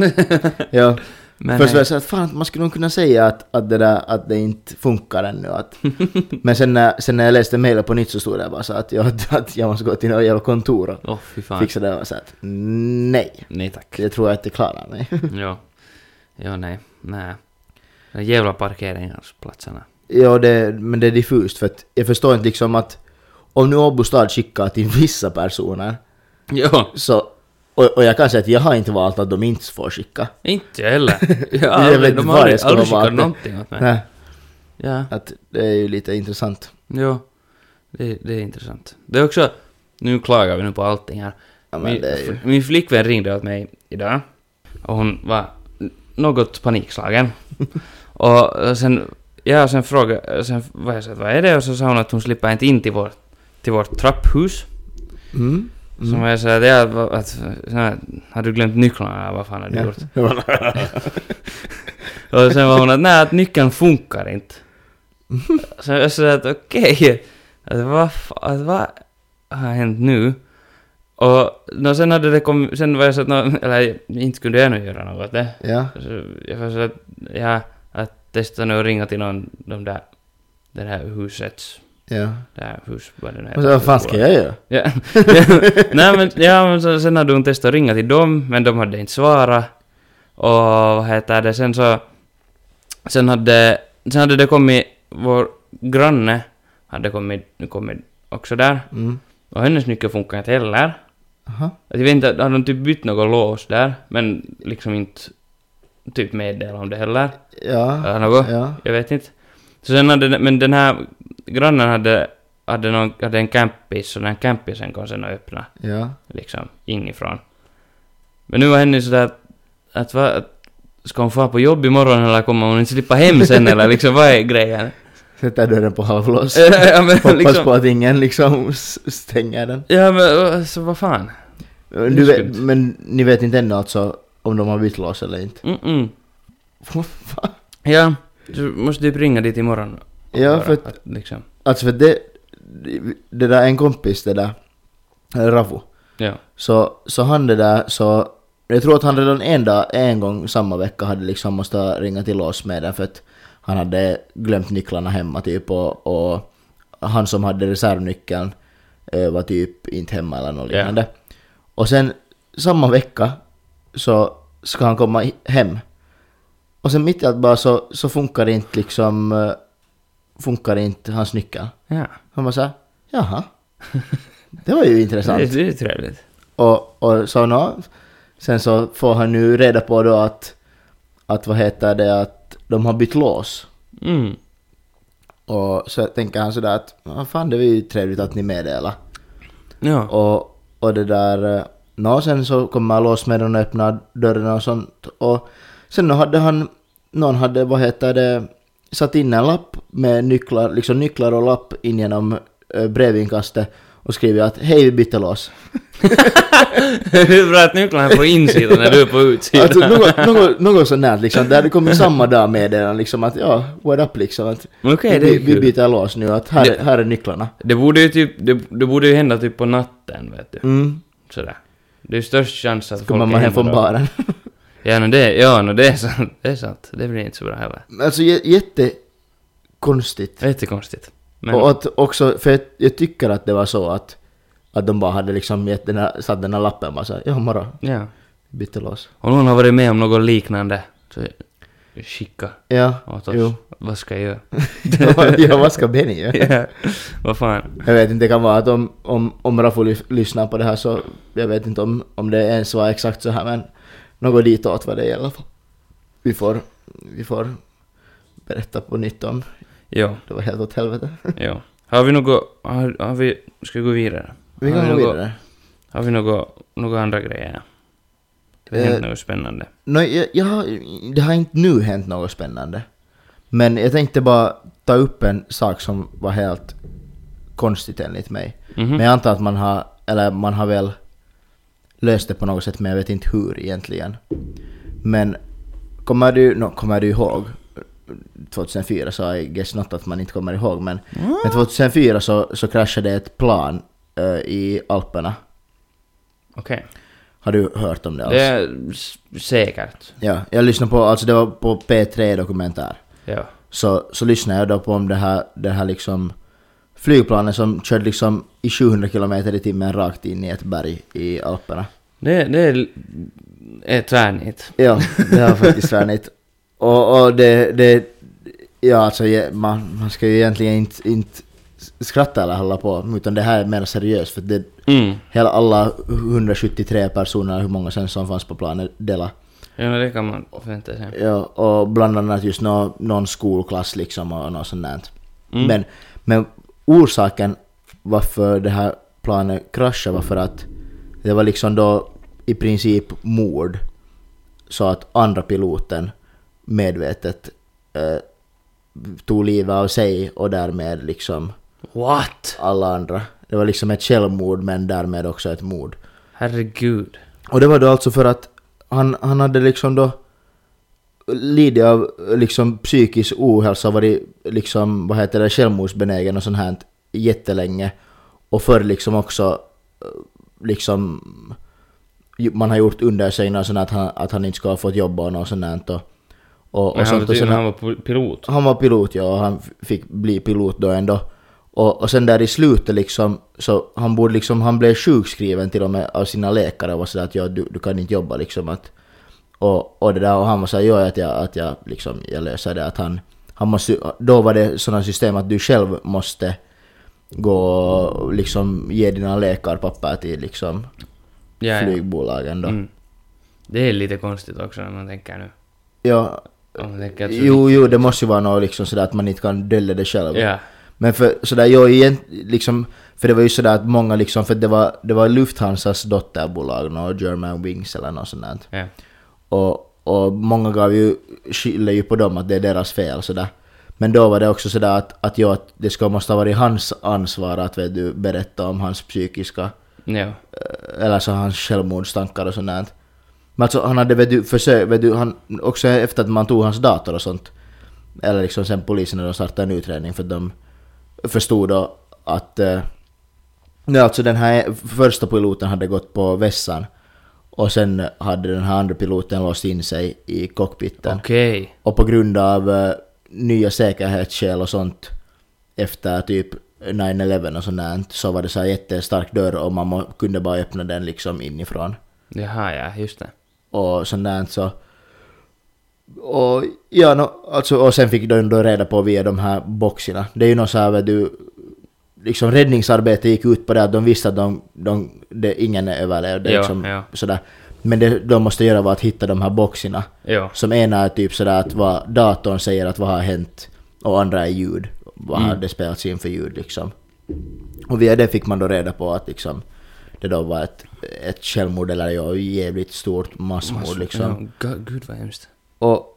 (laughs)
ja.
Men,
Först var
eh,
jag såhär att fan, man skulle nog kunna säga att, att, det där, att det inte funkar ännu.
(laughs)
Att, men sen när, sen när jag läste mejlet på nytt så stod det bara så att jag, (laughs) att jag måste gå till något jävla kontor och
Åh, fy fan.
fixa det. Och så att nej,
Nej tack.
det tror jag inte klarar mig. (laughs)
ja. Ja, nej. Nej. De jävla parkeringsplatserna.
ja, det, men det är diffust för att jag förstår inte liksom att om nu Åbo stad skickar till vissa personer
Ja.
så och, och jag kan säga att jag har inte valt att de inte får skicka.
Inte
(laughs)
jag heller. Jag har
Jag vet
aldrig,
inte
de
vad
har aldrig,
jag ska
aldrig
vara
skickat
med.
någonting åt mig.
Nej,
Ja,
att det är ju lite intressant.
jo. Det, det är intressant. Det är också... Nu klagar vi nu på allting här.
Ja, men
min,
det
(laughs)
är ju-
min flickvän ringde åt mig idag. Och hon var
(laughs)
något panikslagen. och eh, sen... Ja, och sen frågade... Sen var jag så att vad är det? Och så sa hon att hon slipper inte in till vårt, till vårt trapphus.
Mm.
Mm. Så var jag så att, ja, vad- att, så här, har du glömt nycklarna? Vad fan har du gjort? Och sen var hon att nej, att nyckeln
(laughs)
funkar inte. Så jag sa att okej, att vad fa- att vad har hänt nu? Och no, sen hade det kommit, sen var jag så att, nå, eller inte kunde jag nu göra något åt det.
Ja.
Så jag var så att, ja, att testa nu att ringa till någon, de där, det här husets,
Ja.
det här hus, vad det nu
Men så, vad fan ska jag göra?
Ja. (laughs) Nej men, ja, men så, sen hade hon testat att ringa till dem, men de hade inte svarat. Och vad heter det, sen så... Sen hade, sen hade det kommit, vår granne hade kommit, kommit också där.
Mm.
Och hennes nyckel funkar inte heller.
Aha.
Att jag vet inte, hade de typ bytt något lås där? Men liksom inte typ meddela om det heller.
Ja.
Eller något.
Ja.
Jag vet inte. Så sen hade, men den här grannen hade, hade, någon, hade en campis, så den campisen kom sen och öppna
Ja.
liksom inifrån. Men nu var Henny sådär att, att, va, att ska hon få på jobb imorgon eller kommer hon inte slippa
(laughs)
hem sen eller liksom vad är grejen? (laughs)
Sätter dörren på halvlås.
ja men
(laughs) Hoppas på
Eh, liksom,
att ingen liksom s- stänger den.
ja men alltså, vad fan?
Du
är
vet,
skumt.
men ni vet inte ännu alltså om de har bytt lås eller inte? (laughs)
Mm-mm. Ja, du måste typ ringa dit imorgon. och
Ja,
höra
för att-
liksom,
Alltså för det, det där en kompis det där, eh, Ravu,
ja.
så, så han det där så, jag tror att han redan en dag, en gång samma vecka hade liksom måste ringa till låsmeden för att han hade glömt nycklarna hemma typ och, och han som hade reservnyckeln eh, var typ inte hemma eller något
Ja.
liknande. Och sen samma vecka så ska han komma i- hem. Och sen mitt i allt bara så, så funkar inte liksom, eh, funkar inte hans nyckel.
Ja.
Han bara såhär, jaha. Det var ju
Det, är-
intressant.
det är trevligt.
Och, och så nå, sen så får han nu reda på då att, att vad heter det, att de har bytt lås.
Mm.
Och så tänker han sådär att, "Ja, fan det var ju trevligt att ni meddelar.
Ja.
Och, och det där, eh, nå sen så kommer låsmedlen och öppnar dörrarna och sånt. Och sen nå hade han, någon hade, vad heter det, satt in en lapp med nycklar, liksom nycklar och lapp in genom eh, brevinkastet. och skrivit att hej vi bytte lås.
(laughs) Hur bra att nycklarna är på insidan när du är på utsidan?
Alltså något, något, något sånt där liksom, där det kommer samma dag meddelande liksom att ja, what up liksom att
Men okej, det är
vi, vi
kul.
byter lås nu att här,
Det-
här är nycklarna.
Det borde ju typ, det, det borde ju hända typ på natten vet du.
Mm.
Sådär. Det är ju störst chans att
Kommer
folk
man
är
hem
hemma
från
då.
baren. (laughs)
Ja, no, det, ja no, det är sant. Det är sant. Det blir inte så bra heller.
Alltså jä- jättekonstigt.
Jättekonstigt. Men,
Och att också, för jag, jag tycker att det var så att, att de bara hade liksom gett den här, satt den här lappen och bara såhär, ja morgon,
ja.
bytte lås.
Om någon har varit med om något liknande, så skicka
Ja,
åt oss. (laughs)
jo. (laughs)
Vad ska jag göra?
ja, vad ska Benny göra?
Ja. Vad fan?
Jag vet inte, det kan vara att om, om, om Raffo ly- lyssnar på det här så, jag vet inte om, om det ens var exakt så här men något ditåt var det i alla fall. Vi får, vi får berätta på nytt om,
Jo,
det var helt åt helvete. (laughs)
jo. Har vi något, har, har vi, ska vi gå vidare?
Vi
har
kan gå
något-
vidare.
Har vi något, några andra grejer? Det har
Eh,
hänt något spännande.
No, jag, jag, har- det har inte nu hänt något spännande. Men jag tänkte bara ta upp en sak som var helt konstigt enligt mig.
Mhm.
Men jag antar att man har, eller man har väl löst det på något sätt men jag vet inte hur egentligen. Men kommer du, no, kommer du ihåg? 2004 så I guess not att man inte kommer ihåg men,
Mm.
men 2004 så, så kraschade ett plan eh, i Alperna.
Okej.
Har du hört om det alls?
Det är s- säkert.
Ja, jag lyssnade på, alltså det var på P3 Dokumentär.
Ja.
Så, så lyssnade jag då på om det här, det här liksom flygplanet som körde liksom i 700 km i timmen rakt in i ett berg i Alperna.
Det, det är, är tvärnit.
Ja, det har (laughs) faktiskt svärnit. Och, och det, det, ja alltså ja, man, man ska ju egentligen inte, inte skratta eller hålla på, utan det här är mer seriöst för det,
Mm.
hela alla 173 personer, hur många sen som fanns på planet, delade
Ja, det kan man förvänta sig.
Ja, och bland annat just nå någon skolklass liksom och något sånt där.
Mm.
Men, men orsaken varför det här planet kraschade var för att det var liksom då i princip mord. Så att andra piloten medvetet eh, tog livet av sig och därmed liksom
What?
alla andra. Det var liksom ett självmord men därmed också ett mord.
Herregud.
Och det var då alltså för att han, han hade liksom då lidit av liksom psykisk ohälsa, varit liksom, vad heter det, självmordsbenägen och sånt här jättelänge. Och förr liksom också eh, liksom ju- man har gjort undersökningar sådana att han, att han inte ska ha fått jobba och något sånt här. Och, och,
Men
och
han, var
sånt. Och
tydligen-
sen,
han var pol- pilot.
han var pilot ja, och han f- fick bli pilot då ändå. Och, och sen där i slutet liksom, så han borde liksom, han blev sjukskriven till och med av sina läkare och var sådär att ja, du, du kan inte jobba liksom att... Och, och det där, och han var såhär, ja att jag, att jag liksom, jag löser det att han... Han måste, då var det sådana system att du själv måste gå och liksom ge dina läkarpapper till liksom
Ja, ja.
flygbolagen då.
Mm. Det är lite konstigt också när man tänker nu.
Ja,
Om man tänker att så-
jo, jo, det måste ju vara något liksom sådär att man inte kan dölja det själv.
Ja.
Men för sådär, jag igen, liksom, för det var ju sådär att många liksom, för det var, det var Lufthansas dotterbolag, no, German Wings eller något sånt där.
ja.
Och, och många gav ju, skyller ju på dem att det är deras fel sådär. Men då var det också sådär att, att, ja, att det ska måste ha varit hans ansvar att vet du, berätta om hans psykiska,
Ja.
eh, eller så hans självmordstankar och sånt där. Men alltså han hade vet du, försökt, vet du, han, också efter att man tog hans dator och sånt. Eller liksom sen polisen när de startade en utredning för att de förstod då att... Eh, nej, alltså den här första piloten hade gått på vässan. Och sen hade den här andra piloten låst in sig i cockpiten.
Okej.
Och på grund av eh, nya säkerhetsskäl och sånt efter typ 9-11 och sånt där, så var det så här jättestark dörr och man må, kunde bara öppna den liksom inifrån.
Jaha, ja. Just det.
Och sånt där så... Och ja, no, alltså, och sen fick de då reda på via de här boxarna. Det är ju något så här vet du... Liksom räddningsarbetet gick ut på det att de visste att de, de, det, ingen överlevde.
Ja,
liksom,
ja.
Sådär. Men det de måste göra var att hitta de här boxarna.
Ja.
Som ena är typ sådär att vad datorn säger att vad har hänt och andra är ljud. Vad har det spelats in för ljud liksom. Och via det fick man då reda på att liksom det då var ett, ett självmord eller ja, jävligt stort massmord liksom.
Ja, gu- gud vad hemskt.
Och,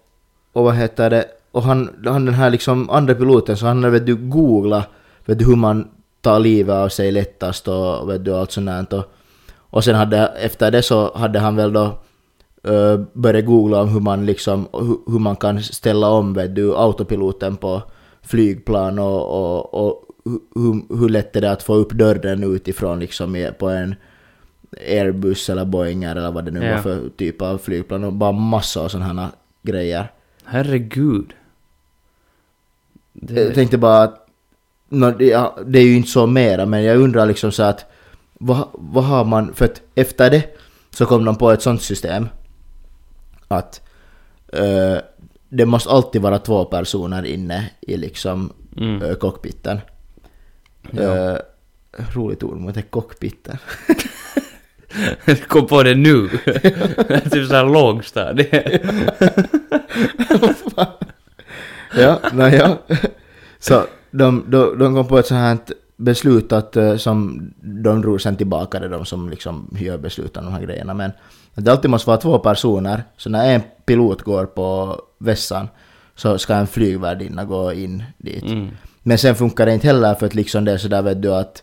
och vad heter det? Och han, han den här liksom andra piloten så han hade vet du googla vet du hur man ta livet av sig lättast och vet du allt sånt där. Och, och sen hade, efter det så hade han väl då uh, börjat googla om hur man liksom, hu, hur man kan ställa om vet du, autopiloten på flygplan och, och, och hu- hur, hur lätt är det att få upp dörren utifrån liksom i- på en Airbus eller Boeinger eller vad det nu
Ja.
var för typ av flygplan och bara massa av sådana här grejer.
Herregud. (laughs)
Jag tänkte bara att nå, det, ja, det är ju inte så mera, men jag undrar liksom så att vad, vad har man, för att efter det så kom de på ett sånt system att eh, det måste alltid vara två personer inne i liksom
Mm.
eh, cockpiten.
Ja.
Eh, roligt ord mot det, cockpiten. (laughs)
Jag kom på det nu. (laughs) typ såhär lågstadie.
(laughs)
(laughs)
ja, nej, ja. Så de, de, de kom på ett sånt här beslut att eh, som de drog sen tillbaka det, de som liksom gör beslut om de här grejerna. Men att det alltid måste vara två personer, så när en pilot går på vässan så ska en flygvärdinna gå in dit.
Mm.
Men sen funkar det inte heller för att liksom det är sådär vet du att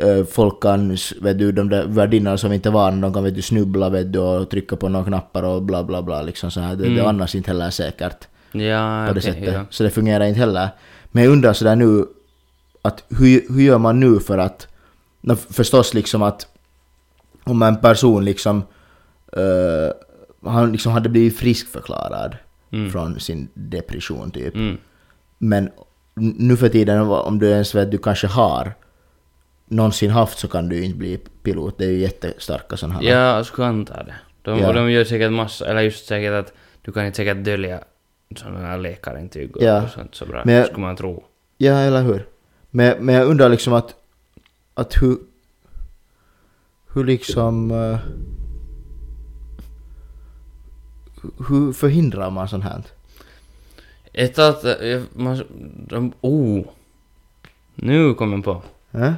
eh, folk kan, vet du, de där värdinnorna som inte är vana, de kan vet du snubbla vet du och trycka på några knappar och bla bla bla liksom så här. Det, det är
Mm.
annars inte heller säkert
Ja,
på det
Ah, okej,
sättet.
ja.
Så det fungerar inte heller. Men jag undrar sådär nu, att hur, hur gör man nu för att, nå, förstås liksom att om en person liksom, eh, han liksom hade blivit friskförklarad
Mm.
från sin depression typ.
Mm.
Men n- nu för tiden om du ens vet du kanske har någonsin haft så kan du ju inte bli pilot. Det är ju jättestarka sådana här.
Ja, jag skulle anta det. De,
Ja.
och de gör säkert massa, eller just säkert att du kan inte säkert dölja sådana här läkarintyg och,
Ja.
och sånt så bra,
Men jag-
skulle man tro.
Ja, eller hur? Men, men jag undrar liksom att, att hur, hur liksom, eh, hur förhindrar man sånt här?
Ett att, eh, man, de, oh! Nu kom jag på.
Eh?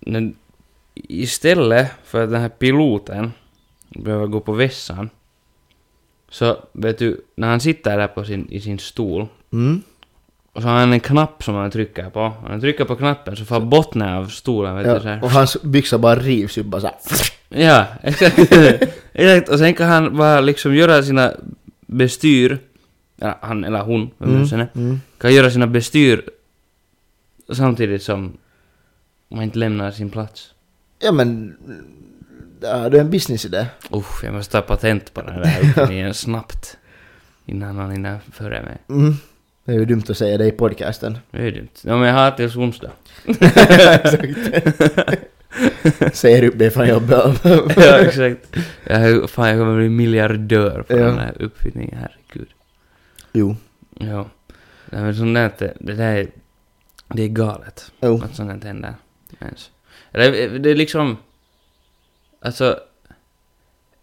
Men istället för att den här piloten behöver gå på vässan, så vet du, när han sitter där på sin, i sin stol,
Mm?
och så har han en knapp som han trycker på, och när han trycker på knappen så får botten av stolen, vet du, så
Ja,
här.
och hans byxa bara rivs upp bara så här.
Ja, (laughs) exakt. exakt. Och sen kan han bara liksom göra sina bestyr, eller han eller hon, vem mm. sen är,
Mm.
kan göra sina bestyr samtidigt som man inte lämnar sin plats.
Ja men, ja, det är en businessidé.
Uff, jag måste ta patent på den där uppfinningen (laughs) snabbt. Innan han hinner före mig.
Mm. Det är ju dumt att säga det i
(laughs)
podcasten.
Det är dumt. Ja, men jag har tills onsdag.
Säger upp det från jobbet.
ja, exakt. Jag, fan, jag kommer bli miljardör på
Ja.
den här uppfinningen, herregud.
jo,
Ja. Nej, men sånt där, det, det där är, det är galet.
jo.
Att sånt inte händer ens. Eller det är liksom... Alltså...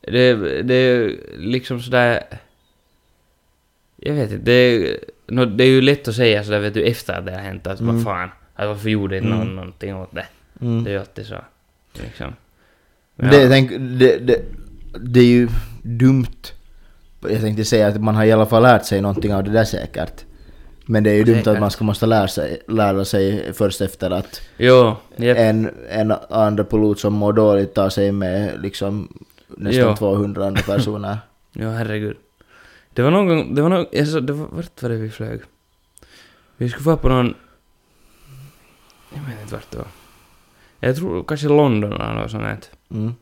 Det, det är liksom sådär... Jag vet inte, det är, nå det är ju lätt att säga sådär vet du efter att det har hänt att
Mm.
vad fan, att varför gjorde inte någon
Mm.
någonting åt det?
Mm.
Det är ju alltid så. Liksom. Men
Det,
ja,
tänk, det, det, det är ju dumt. Jag tänkte säga att man har i alla fall lärt sig någonting av det där säkert. Men det är ju dumt
Säkert.
att man ska måste lära sig, lära sig först efter att
Jo, jep,
en, en andra pilot som mår dåligt tar sig med liksom nästan
Ja.
200 andra personer.
jo herregud. Det var någon gång, det var någon, alltså, det var, vart var det vi flög? Vi skulle vara på någon... Jag vet inte vart det var. Jag tror kanske London eller något sånt. här.
Mm.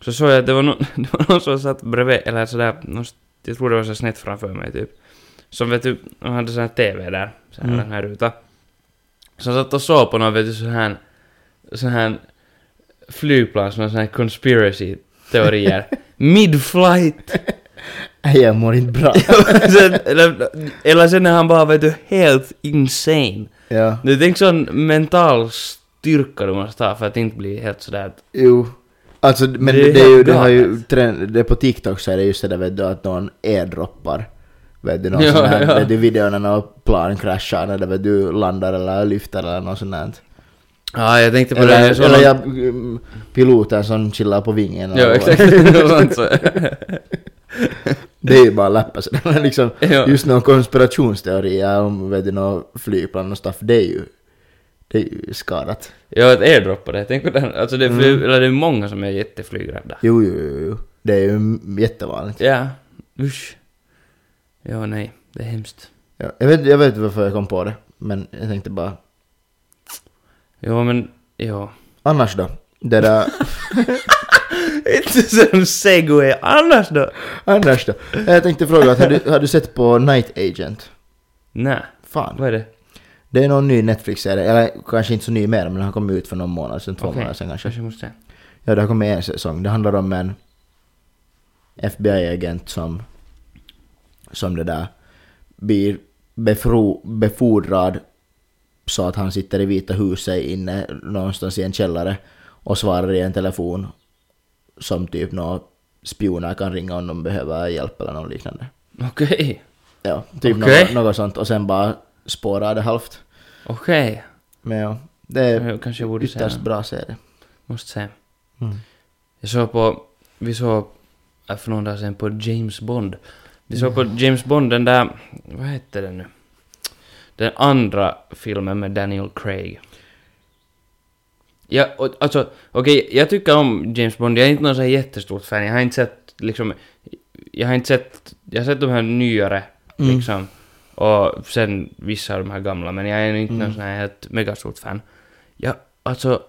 (laughs)
Så såg jag att det var, någon, (laughs) det var någon som satt bredvid, eller sådär, någon, jag tror det var så snett framför mig typ. Som vet du, han hade sån här TV där, så här,
Mm.
den här ruta. Så han satt och såg på någon vet du sån här, sån här flygplan, sån här, sån här conspiracy teorier. Mid-flight!
Nej, Jag mår inte
(laughs)
bra.
sen, eller, eller sen är han bara vet du helt insane.
ja.
Du tänk sån mental styrka du måste ha för att inte bli helt sådär att
Jo. Alltså, men
Det
det,
är
är ju,
helt
det har ju
galet.
trend, det är på TikTok så är det just det där vet du, att någon airdroppar. Vet du, någon
(laughs) Ja,
sån här,
ja.
vet du videon när någon plan kraschar eller vet du landar eller lyfter eller något sånt där.
Ah, Ja, jag tänkte på Typ det.
Eller,
Jag såg
eller
någon-
jag, mm, piloten som chillar på vingen. eller
Ja,
vad.
(laughs) exakt. Något sånt så.
(laughs) Det är ju bara läppa sådär. liksom,
(laughs) Ja.
Just någon konspirationsteori om vet du, någon flygplan och stuff, det är ju Det är ju skadat.
Jag har airdroppat det, tänk på den. Alltså det, är fly,
Mm.
eller det är många som är jätteflygrädda.
Jo, jo, jo, jo. Det är ju m- jättevanligt.
Ja, usch. Ja, nej, det är hemskt.
Ja, Jag vet, jag vet inte varför jag kom på det, men jag tänkte bara...
Jo, men, ja.
Annars då? Det där... (laughs)
Inte som segway annars då?
Annars då? Jag tänkte fråga, att har, du, har du sett på Night Agent?
Nej,
Fan.
vad är det?
Det är någon ny Netflix-serie, eller kanske inte så ny mer, men den har kommit ut för någon månad sedan, två
Okej.
månader sedan kanske.
Kanske måste jag.
Ja, det har kommit en säsong. Det handlar om en FBI-agent som, som det där blir befro, befordrad så att han sitter i Vita huset inne någonstans i en källare och svarar i en telefon som typ några spioner kan ringa om de behöver hjälp eller något liknande.
Okej,
Ja, typ
Okej.
något, något sånt och sen bara spårar det halvt.
okej.
Men ja, det är
Jag kanske borde säga
Eh, ytterst
något.
bra serie.
Måste säga.
Mm.
Jag såg på, vi såg äh, för någon dag sedan på James Bond. Vi såg på
Mm.
James Bond, den där, vad hette den nu? Den andra filmen med Daniel Craig. Ja, och, alltså, okej, jag tycker om James Bond, jag är inte någon så här jättestort fan, jag har inte sett liksom, jag har inte sett, jag har sett de här nyare,
Mm.
liksom, och sen vissa av de här gamla, men jag är inte
Mm.
någon sån här helt megastort fan. Jag, alltså,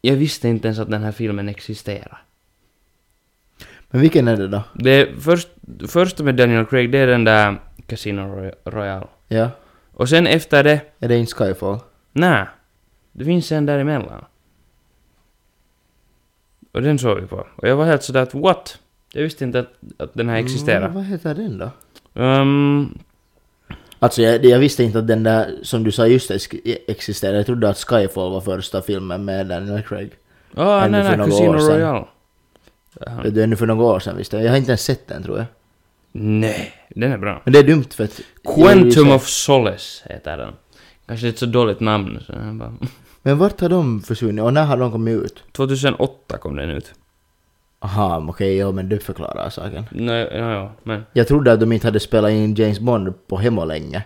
jag visste inte ens att den här filmen existerar.
Men vilken är det då?
Det är först, första med Daniel Craig, det är den där Casino Roy- Royale.
Ja,
Och sen efter det,
är det inte Skyfall?
nä, det finns en däremellan. Och den såg vi på. Och jag var helt sådär att what? Jag visste inte att, att den här existerar.
Mm, vad heter den då?
Um,
Alltså jag, jag visste inte att den där som du sa just ex- existerade. Jag trodde att Skyfall var första filmen med Daniel Craig.
ah,
Ännu
nej,
för
nej,
några
Casino
år sedan.
Royale. Jaha.
Det är nu för några år sedan visste jag. Jag har inte ens sett den tror jag.
Nej, den är bra.
Men det är dumt för att...
Quantum of Solace heter den. Kanske ett så dåligt namn. Så jag bara. (laughs)
Men vart har de försvunnit och när har de kommit ut?
2008 kom den ut.
Aha, men okej, ja men du förklarar saken.
Nej, ja, ja, men...
Jag trodde att de inte hade spelat in James Bond på hemma länge.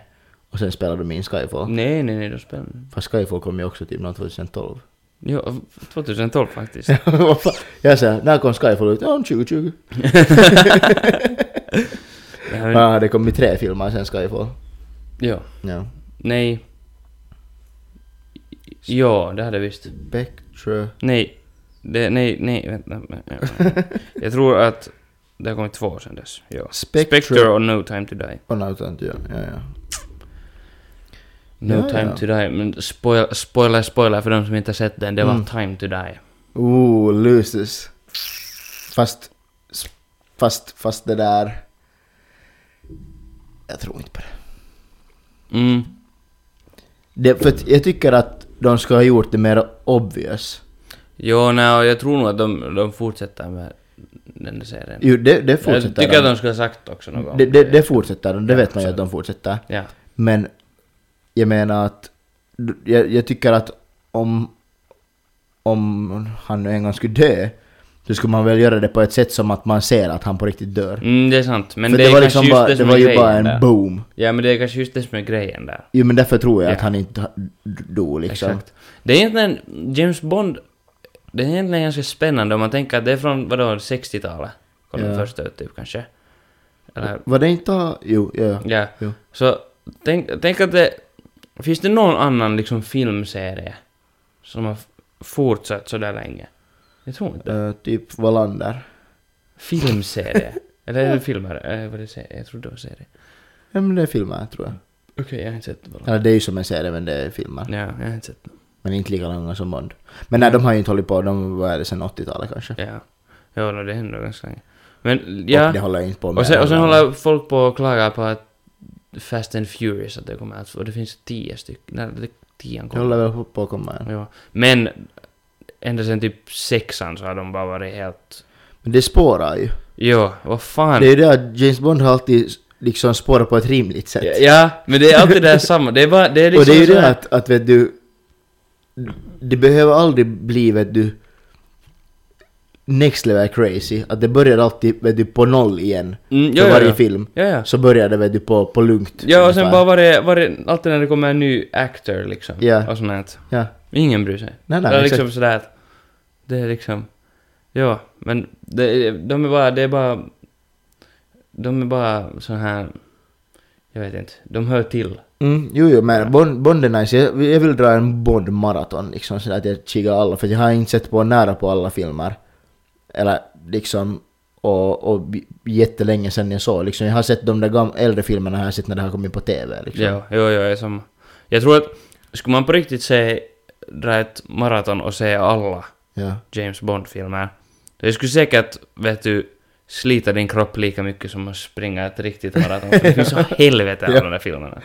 Och sen spelade de in Skyfall.
Nej, nej, nej, då spelar den.
Fast Skyfall kom ju också typ någon 2012.
Jo, 2012 faktiskt.
(laughs) Vad fan? jag säger, när kom Skyfall ut? Ja, om 2020.
Det här är-
Ja, det kom ju tre filmer sen Skyfall.
Ja,
Ja.
nej. Ja, det hade jag visst.
Spectre...
Nej, det, nej, nej, vänta. Jag tror att det har kommit två år sedan dess. Ja.
Spectre-
Spectre och No Time To Die.
Oh, no, sånt, ja, ja, ja.
No
Ja,
Time
ja.
To Die, men spoil, spoiler, spoiler för de som inte har sett den, det var
Mm.
Time To Die.
Ooh, losers. Fast, fast, fast det där... Jag tror inte på det.
Mm.
det för att jag tycker att de ska ha gjort det mer obvious.
Jo, nej, och jag tror nog att de, de fortsätter med den där serien.
Jo, det, det
jag
fortsätter
tycker att de skulle ha sagt också något om
det, det, det fortsätter de, det vet man ju
så-
att de fortsätter.
Ja.
Men jag menar att... Jag, jag tycker att om... Om han nu en gång skulle dö, så skulle man väl göra det på ett sätt som att man ser att han på riktigt dör.
Mm, det är sant. Men
För
det,
det,
är
var
kanske
liksom
just
bara,
det
det
som
var
är
ju
grejen
bara en
där.
boom.
Ja, men det är kanske just det som är grejen där.
Jo men därför tror jag
Ja.
att han inte ha- dog liksom.
Exakt. Det är egentligen, James Bond, det är egentligen ganska spännande om man tänker att det är från, vadå, 60-talet? Kom den
Ja.
första ut typ kanske? Eller,
Var det inte... ha- Jo, ja.
ja.
Jo.
Så tänk, tänk att det, finns det någon annan liksom filmserie som har f- fortsatt sådär länge? Jag tror inte.
Eh, typ Wallander. (laughs)
Filmserie? Eller är det filmer? Eh, vad det säger? Jag tror det var serie.
Ja men det är filmer tror jag.
Okej, jag har inte sett vad det
Eller det är ju som en serie men det är filmer.
Ja, jag har inte sett
Men inte lika långa som Bond. Men nej, de har ju inte hållit på, de var det sen 80-talet kanske.
Ja. Ja, no, det händer ganska länge. Men ja.
Och det håller ju inte på med.
Och sen, och sen håller folk på och klagar på att Fast and Furious att det kommer att... Och det finns tio stycken. Nej, det, tian
Det
kommer.
håller väl på- på att komma igen.
Ja. Men ända sen typ sexan så har de bara varit helt...
Men det spårar ju.
Jo, vad fan.
Det är ju det att James Bond har alltid liksom spårat på ett rimligt sätt.
Ja, men det är
(laughs)
alltid det här samma. Det är bara... Det är liksom
och det är ju
så
det
här-
att, att vet du, det behöver aldrig bli vet du, next level crazy, att det börjar alltid vet du, på noll igen.
Mm,
för varje film.
Ja, ja.
Så börjar det vet du, på, på lugnt.
Ja, och
ungefär.
sen bara var det, var det alltid när det kommer en ny actor liksom.
Ja.
Och sånt här.
Ja.
Ingen bryr sig.
Nej,
det
nej,
är
exakt.
liksom sådär att, det är liksom, ja, men det, de är bara, det är bara, de är bara så här, jag vet inte, de hör till.
Mm, jo, jo, men Bond, Bond är nice. Jag, jag vill dra en Bond-maraton, liksom så att jag kikar alla, för jag har inte sett på nära på alla filmer. Eller liksom, och, och b- jättelänge sedan jag såg liksom. Jag har sett de där gam- äldre filmerna har jag sett när det har kommit på TV liksom.
Ja, jo, jo, jag är som, jag tror att, skulle man på riktigt se, dra ett maraton och se alla
Ja.
James Bond-filmer, det skulle säkert, vet du, slita din kropp lika mycket som att springa ett riktigt maraton. För Det
(laughs)
finns så helvete alla
Ja.
de där filmerna.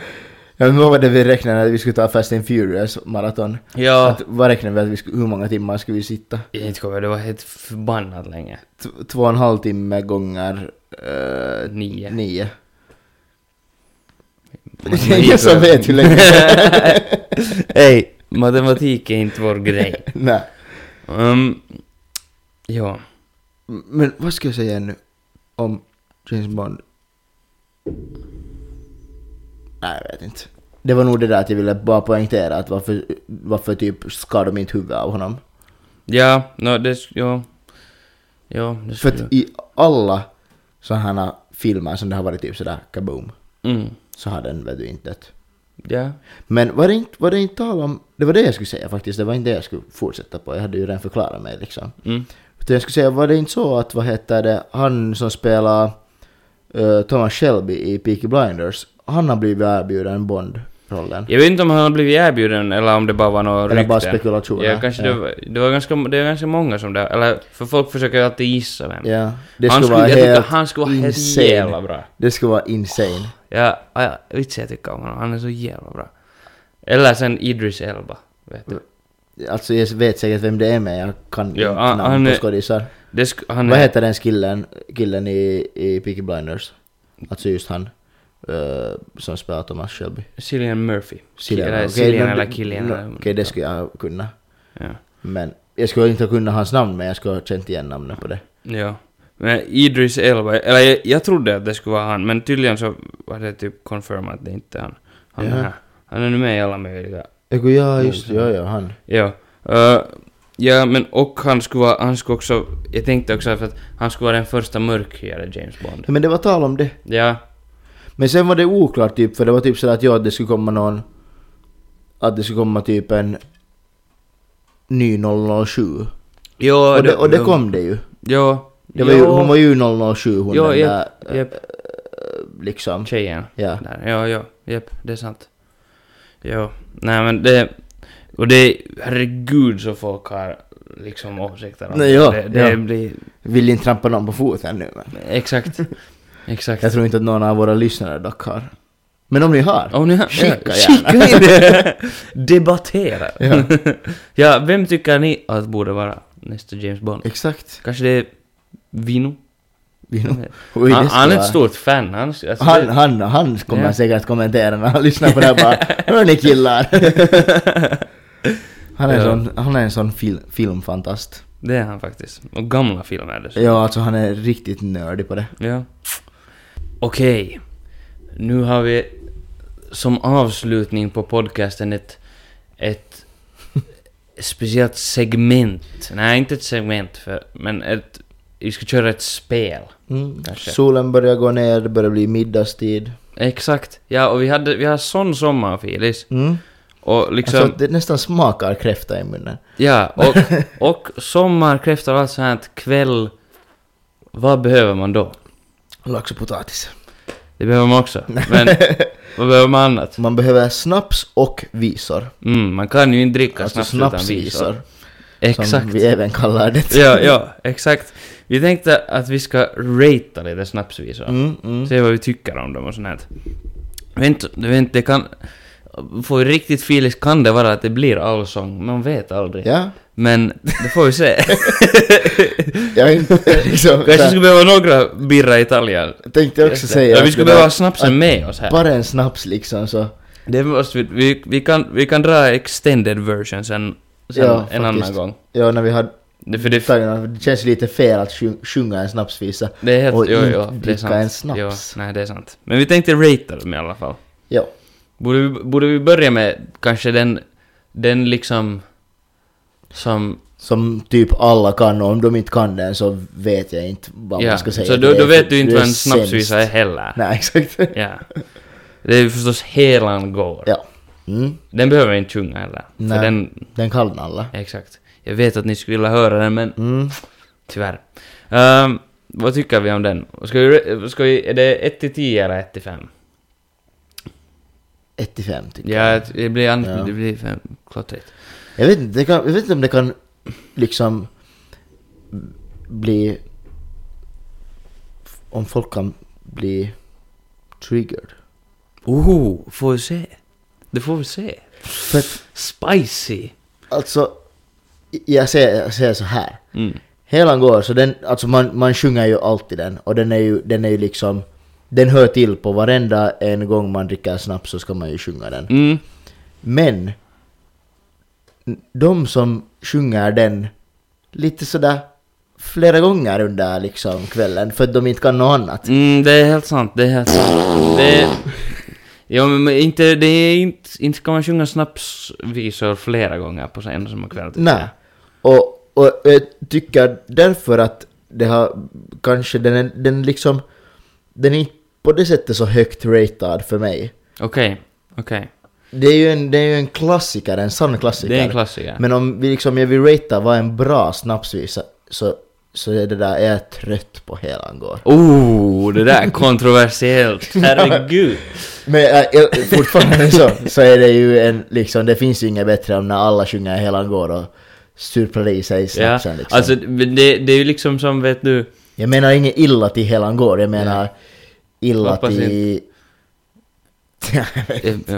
Jag kommer ihåg det vi räknade att vi skulle ta Fast and Furious-maraton.
Ja,
Att Vad räknade vi att vi skulle, hur många timmar skulle vi sitta?
jag inte kommer, det var helt förbannat länge.
T- två och en halv timme gånger... eh,
Nio.
Nio. (laughs)
Man-
Det är ingen som vet hur länge.
(laughs) Hej, matematik är inte vår grej.
Nej.
Um, ja,
Men vad ska jag säga nu om James Bond? Nej, jag vet inte. Det var nog det där att jag ville bara poängtera att varför, varför typ skar de inte huvudet av honom?
ja, no, det, sk- ja, ja, det
För
skulle-
att i alla sådana filmer som det har varit typ sådär kaboom
mm,
så har den väl du inte dött.
ja,
Men var det, inte, var det inte tal om... Det var det jag skulle säga faktiskt, det var inte det jag skulle fortsätta på. Jag hade ju redan förklarat mig liksom.
mm,
Utan jag skulle säga, var det inte så att vad heter det, han som spelar eh, Thomas Shelby i Peaky Blinders, han har blivit erbjuden Bond-rollen?
Jag vet inte om han har blivit erbjuden eller om det bara var något
Eller bara
rykte.
spekulationer,
Ja, kanske
ja.
Det, var, det var ganska, det var ganska många som det, eller för folk försöker alltid gissa vem.
Ja, det
han
skulle vara
jag tycker
helt
han skulle vara helt
insane.
jävla bra.
Det skulle vara insane.
Ja, ja, vitsi jag tycker om honom, han är så jävla bra. Eller sen Idris Elba, vet du.
Alltså jag vet säkert vem det är men jag kan
Ja,
inte
han-
namn
han
på
är-
skådisar.
Det sk- han
Vad
är-
heter den killen, killen i, i Peaky Blinders? Alltså just han eh, som spelar Thomas Shelby.
Cillian Murphy.
Cillian,
eller
okej,
Cillian
men-
eller Killian.
no,
eller-
Okej, det skulle jag kunna.
ja.
Men jag skulle inte kunna hans namn men jag skulle ha känt igen namnet på det.
ja. Men Idris Elba, eller jag, jag trodde att det skulle vara han, men tydligen så var det typ confirmat att det inte är han. Han,
Jaha.
är, här. han är nu med i alla möjliga.
Eiku, ja just det, ja, ja han.
Ja. Eh, ja, men och han skulle vara, han skulle också, jag tänkte också för att han skulle vara den första mörkhyade James Bond.
Ja, men det var tal om det.
Ja.
Men sen var det oklart typ, för det var typ sådär att ja, det skulle komma någon... Att det skulle komma typ en... Ny 007.
Jo,
Och det, och det kom det ju.
Jo.
Det var ju, hon var ju 007 hon
Jo,
den
jep,
där äh,
jep.
liksom.
Tjejen.
Ja.
Där. Ja, ja, jep, det är sant. Ja, nej men det... Och det, herregud så folk har liksom åsikter om
Nej, ja,
det. Det,
ja.
det blir...
Vill inte trampa någon på foten nu men. (laughs)
Exakt. Exakt.
Jag tror inte att någon av våra lyssnare dock har. Men om ni har.
Om ni har,
Skicka
ja,
gärna.
skicka in det! (laughs) Debattera!
Ja.
Ja. (laughs) ja, vem tycker ni att borde vara nästa James Bond?
Exakt.
Kanske det är Vino?
Vi nog- (laughs) Oj, det
Han,
skulle
han är ett
vara-
stort fan. Han, alltså,
Han, han, han kommer
Ja.
säkert kommentera när han lyssnar på det här bara
(laughs)
Hörni killar! Han är, en
Ja.
sån, han är en sån fil, filmfantast.
Det är han faktiskt. Och gamla filmer dessutom.
Ja, alltså han är riktigt nördig på det.
Ja. Okej. Nu har vi som avslutning på podcasten ett, ett speciellt segment. Nej, inte ett segment, för, men ett, vi ska köra ett spel. Mm, Kanske.
Solen börjar gå ner, det börjar bli middagstid.
Exakt. Ja, och vi, hade, vi har sån sommar, Felix.
Mm.
Och liksom...
Alltså, det nästan smakar kräfta i munnen.
Ja,
(laughs)
och, och sommarkräftor och allt sånt här kväll... Vad behöver man då?
Lax och potatis.
Det behöver man också.
(laughs)
Men vad behöver man annat?
Man behöver snaps och visor.
Mm, man kan ju inte dricka
Alltså
snaps utan visor.
snapsvisor. Som
Exakt.
vi även kallar det.
Ja, ja, exakt. Vi tänkte att vi ska ratea lite snapsvisor.
Mm, mm.
Se vad vi tycker om dem och sånt här. Vänt, vänt, det kan... Får vi riktigt feeling kan det vara att det blir allsång. Man vet aldrig.
Ja,
Men det får
(laughs)
vi se.
jag är inte (laughs) liksom...
Kanske skulle behöva några birra Italien.
Tänkte också säga...
ja, vi
att
skulle
det
behöva
var-
ha snapsen med oss här.
Bara en snaps liksom så...
Det måste vi, vi, vi, kan, vi kan dra extended version sen, sen
Ja,
en
faktiskt.
annan gång.
Ja, när vi har
Det, för det,
Tagarna, Det känns lite fel att sju- sjunga en snapsvisa.
det är helt...
Och
jo,
inte
jo, det
dricka
är sant.
en snaps.
Jo, nej, det är sant. Men vi tänkte ratea dem i alla fall.
Ja.
Borde vi, borde vi börja med kanske den, den liksom som...
Som typ alla kan och om de inte kan den så vet jag inte vad man ska säga.
så
Det
då,
är-
då vet du
det
inte
är
vad en snapsvisa är
sämst.
heller.
Nej, exakt. (laughs)
Ja. Det är ju förstås Helan går.
Ja. Mm.
Den behöver jag inte sjunga heller.
Nej.
För den,
Den kan alla.
exakt. Jag vet att ni skulle vilja höra den men
Mm.
tyvärr. Ehm, vad tycker vi om den? Ska vi, ska vi, är det 1 till 10 eller 1 till 5?
1 till 5 tycker
Ja,
jag.
ett- det blir, an-
Ja.
det blir fem, klottrigt.
Jag vet, inte, det kan, jag vet inte om det kan liksom bli... Om folk kan bli triggered.
Oh, får vi se. Det får vi se.
För att,
Spicy.
alltså, jag säger, jag säger så här.
Mm.
Helan går, så den, alltså man, man sjunger ju alltid den och den är ju, den är ju liksom den hör till på varenda en gång man dricker snaps så ska man ju sjunga den.
Mm.
Men de som sjunger den lite sådär flera gånger under liksom kvällen för att de inte kan något annat.
Mm, det är helt sant, det är helt sant. Det... Ja, men inte, det är inte, inte ska man sjunga snapsvisor flera gånger på en och samma kväll. tycker
Nej.
jag.
Och, och jag tycker därför att det har kanske den, är- den liksom den är inte på det sättet så högt ratad för mig.
Okej, okej.
Det är ju en, det är ju en klassiker, en sann klassiker.
Det är en klassiker.
Men om vi liksom, jag vill ratea vad en bra snapsvisa så, så är det där, jag är trött på Helan går.
Oh, det där är (laughs) kontroversiellt. Herregud.
Men äh, jag, fortfarande så, så är det ju en, liksom, det finns ju inget bättre än när alla sjunger Helan går och surplar i sig
ja,
snapsen liksom.
alltså men det, det är ju liksom som vet du...
jag menar inget illa till Helan går, jag menar illa
Hoppas
till...
eh, Ja.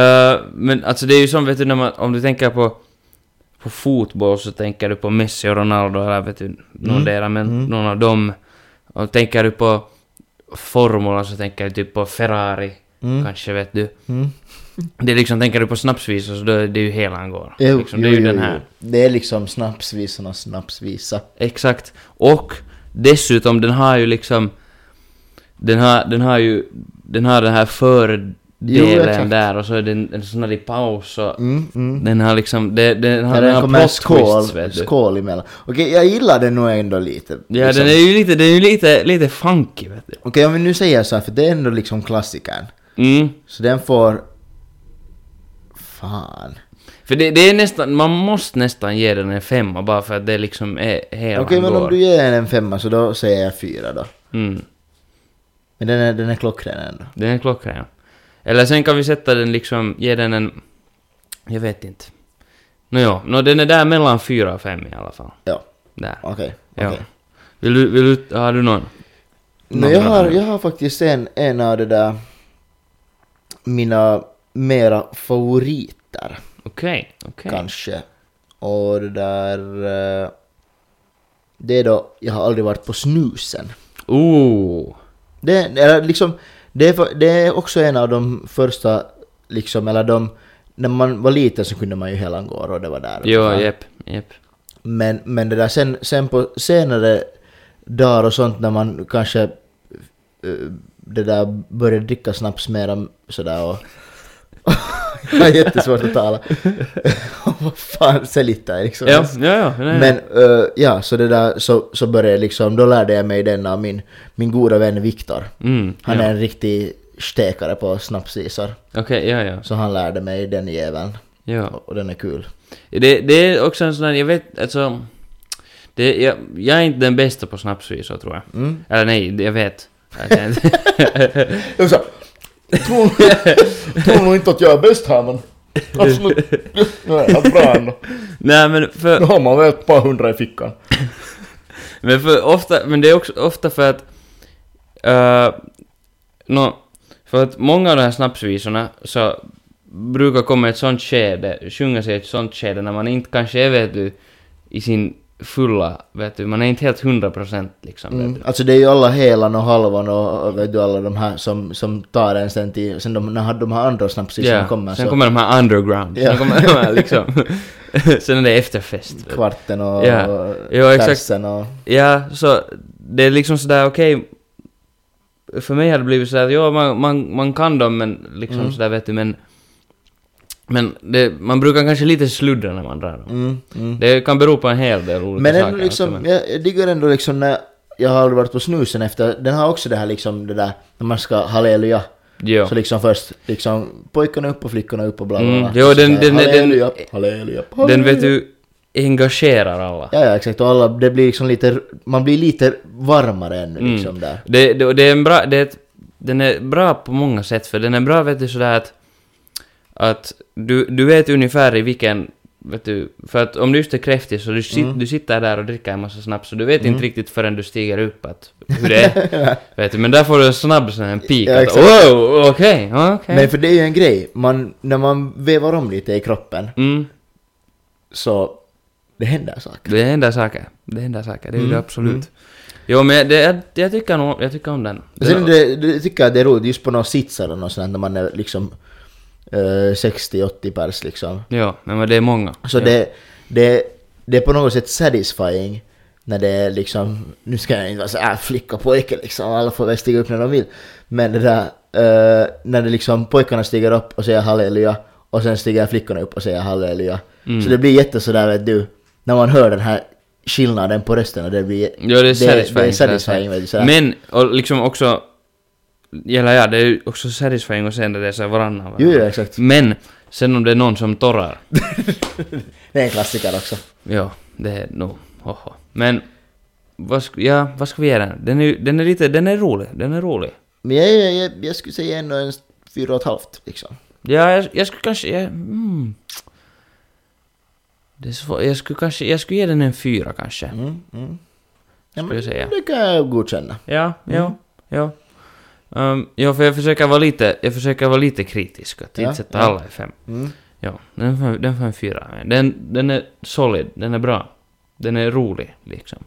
Eh, men alltså det är ju som vet du när man, om du tänker på, på fotboll så tänker du på Messi och Ronaldo eller vet du, någon där,
Mm.
men någon av dem. Och tänker du på formula så tänker du typ på Ferrari,
Mm.
kanske vet du. Det är liksom, tänker du på snapsvisor så då är det ju hela han går.
Jo,
liksom, det är ju
jo,
den
jo,
här.
jo. Det är liksom snapsvisornas snapsvisa.
Exakt. Och dessutom, den har ju liksom... Den har, den har ju... Den har den här fördelen
Jo, exakt.
där och så är det en, en sån här i paus och...
Mm, mm.
Den har liksom... Det, den har,
Ja,
den
den
har
kommer en
plot
skål,
twists, vet du.
skål emellan. Okej, jag gillar den nog ändå lite.
Ja,
liksom.
den är ju lite... Den är ju lite, lite funky, vet du.
Okej, om vi nu säger så här, för det är ändå liksom klassikern.
Mm.
Så den får... Fan.
För det, det är nästan... Man måste nästan ge den en femma bara för att det liksom är hela
Okej, men om du ger den en femma så då säger jag fyra då.
Mm.
Men den är, den är klockren ändå.
Den är klockren. Eller sen kan vi sätta den liksom, ge den en... Jag vet inte. Nåja, no, den är där mellan fyra och fem i alla fall.
Ja,
Där.
okej.
Ja.
okej.
Vill du, vill du, har du någon?
Nå, jag, har, jag har faktiskt en, en av de där... Mina mera favoriter.
Okej, okej.
kanske. Och det där... eh, Det är då, jag har aldrig varit på snusen.
Ooh.
Det är, eller liksom, det är, för- det är också en av de första, liksom, eller de... När man var liten så kunde man ju hela gå och det var där.
Jo, jepp, jepp.
Men, men det där sen, sen på senare dagar och sånt när man kanske eh, det där började dricka snaps mera sådär och... (laughs) Jag har jättesvårt att tala. (laughs) Vad fan, selittää liksom.
Ja, ja, ja. Nej.
Men eh, ja, så det där så, så började jag liksom, då lärde jag mig den av min, min goda vän Viktor.
Mm,
Han
ja.
är en riktig stekare på snapsisar.
Okej, ja, ja.
Så han lärde mig den jäveln.
Ja.
Och, och den är kul.
Det, det är också en sån här, jag vet, alltså... Det, jag, jag är inte den bästa på snapsvisor, tror jag.
Mm.
Eller nej, jag vet. Jag är inte. (laughs)
Jag sa, tror, tror nog inte att jag är bäst här men... Alltså nu, nu är jag bra ändå.
nej, men för...
Nu har man väl ett par hundra i fickan.
Men, för ofta, men det är också ofta för att... eh, nå, för att många av de här snapsvisorna så brukar komma i ett sånt skede, sjunga sig i ett sånt skede när man inte kanske är, vet du, i sin fulla, vet du, man är inte helt hundra procent liksom, vet
Mm.
du.
Alltså det är ju alla helan och halvan och och vet du alla de här som, som tar en sen till... Sen de, när de här andra snapsisarna
Ja,
kommer
sen
så...
kommer de här underground,
Ja. (laughs)
sen kommer de här liksom... Sen är det efterfest. vet du.
kvarten och
Ja. Jo,
och
exakt.
tärsen och...
Ja, så det är liksom sådär okej. för mig har det blivit sådär att ja, man, man, man kan dem men liksom
Mm.
sådär vet du men. Men det, man brukar kanske lite sluddra när man drar dem.
Mm, mm.
Det kan bero på en hel del olika
Men
saker.
ändå liksom,
alltså, men-
jag, jag diggar ändå liksom när jag har aldrig varit på snusen efter, den har också det här liksom det där när man ska halleluja.
Jo.
Så liksom först liksom pojkarna upp och flickorna upp och bla bla bla.
Mm, jo,
Så
den-
där,
den- den-
halleluja, den, halleluja, halleluja.
Den vet du engagerar alla.
Ja, ja exakt och alla, det blir liksom lite, man blir lite varmare
Mm.
ännu liksom där.
Det, det, och det är en bra, det är ett, den är bra på många sätt, för den är bra vet du sådär att, att du, du vet ungefär i vilken, vet du, för att om du just är kräftig så du, sit,
Mm.
du sitter där och dricker en massa snaps så du vet inte riktigt förrän du stiger upp att, hur det
(laughs)
är. vet du, men där får du en snabb sån här peak
Ja,
att wow, okej, ja, okej.
Men för det är ju en grej, man, när man vevar om lite i kroppen
Mm,
så det händer saker.
det händer saker, det händer saker, det är ju det
Mm,
absolut. Jo men det, jag, jag, tycker om, jag tycker om den.
Och
Den-
Sen det, det, tycker jag det är roligt just på några sitsar och något sånt när man är liksom eh, 60-80 pers liksom.
Ja, men det är många.
Så
ja.
Alltså det, det, det är på något sätt satisfying när det är liksom, nu ska jag inte vara så här flicka och pojke liksom, alla får väl stiga upp när de vill. Men det där, eh, när det liksom pojkarna stiger upp och säger halleluja och sen stiger flickorna upp och säger halleluja. Så
Mm.
det blir jätte sådär vet du, när man hör den här skillnaden på rösten och det blir...
Ja, det är satisfying.
Det är
sådär.
satisfying vet du, sådär.
Men, och liksom också... Eller ja, det är ju också satisfying och sen när det är så här varannan.
Jo, jo, exakt.
Men, sen om det är någon som torrar.
Det är en klassiker också.
ja, det är nog... Hoho. Men, vad ska, ja, vad ska vi ge den? Den är, ju- den är lite... Den är rolig. Den är rolig.
Men jag, jag, jag, jag skulle säga ändå en fyra och ett halvt liksom.
Ja, jag, jag skulle kanske... Jag, mm. Det är svårt. Jag skulle kanske... Jag skulle ge den en fyra kanske.
Mm, mm. Ja,
Skulle jag säga.
Det kan jag godkänna.
Ja,
Mm.
ja, ja. Um, ja, för jag försöker vara lite, jag försöker vara lite kritisk att
Ja,
inte sätta
ja.
alla i fem.
Mm.
Ja, den får, den får en fyra. av mig. Den, den är solid, den är bra. Den är rolig, liksom.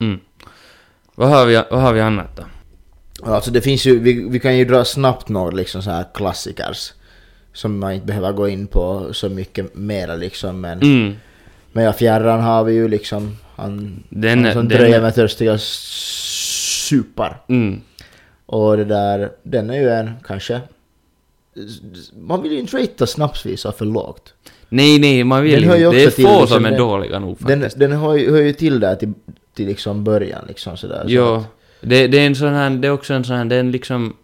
Mm. Vad, har vi, vad har vi annat då?
Alltså det finns ju, vi, vi kan ju dra snabbt några liksom så här klassikers. Som man inte behöver gå in på så mycket mera liksom men...
Mm.
Men ja, fjärran har vi ju liksom. Han,
Den-
han som
den-
dröjer med törstiga s- supar.
Mm.
Och det där, den är ju en kanske... Man vill ju inte ratea snapsvisor för lågt.
Nej, nej, man
Den
vill
hör
inte.
ju
Det är
också till,
få
liksom,
som är
den-
dåliga nog faktiskt.
Den, den hör, ju, hör ju till där till, till liksom början liksom sådär. Så
Jo,
att-
det, det är en sån här, det är också en sån här, den liksom...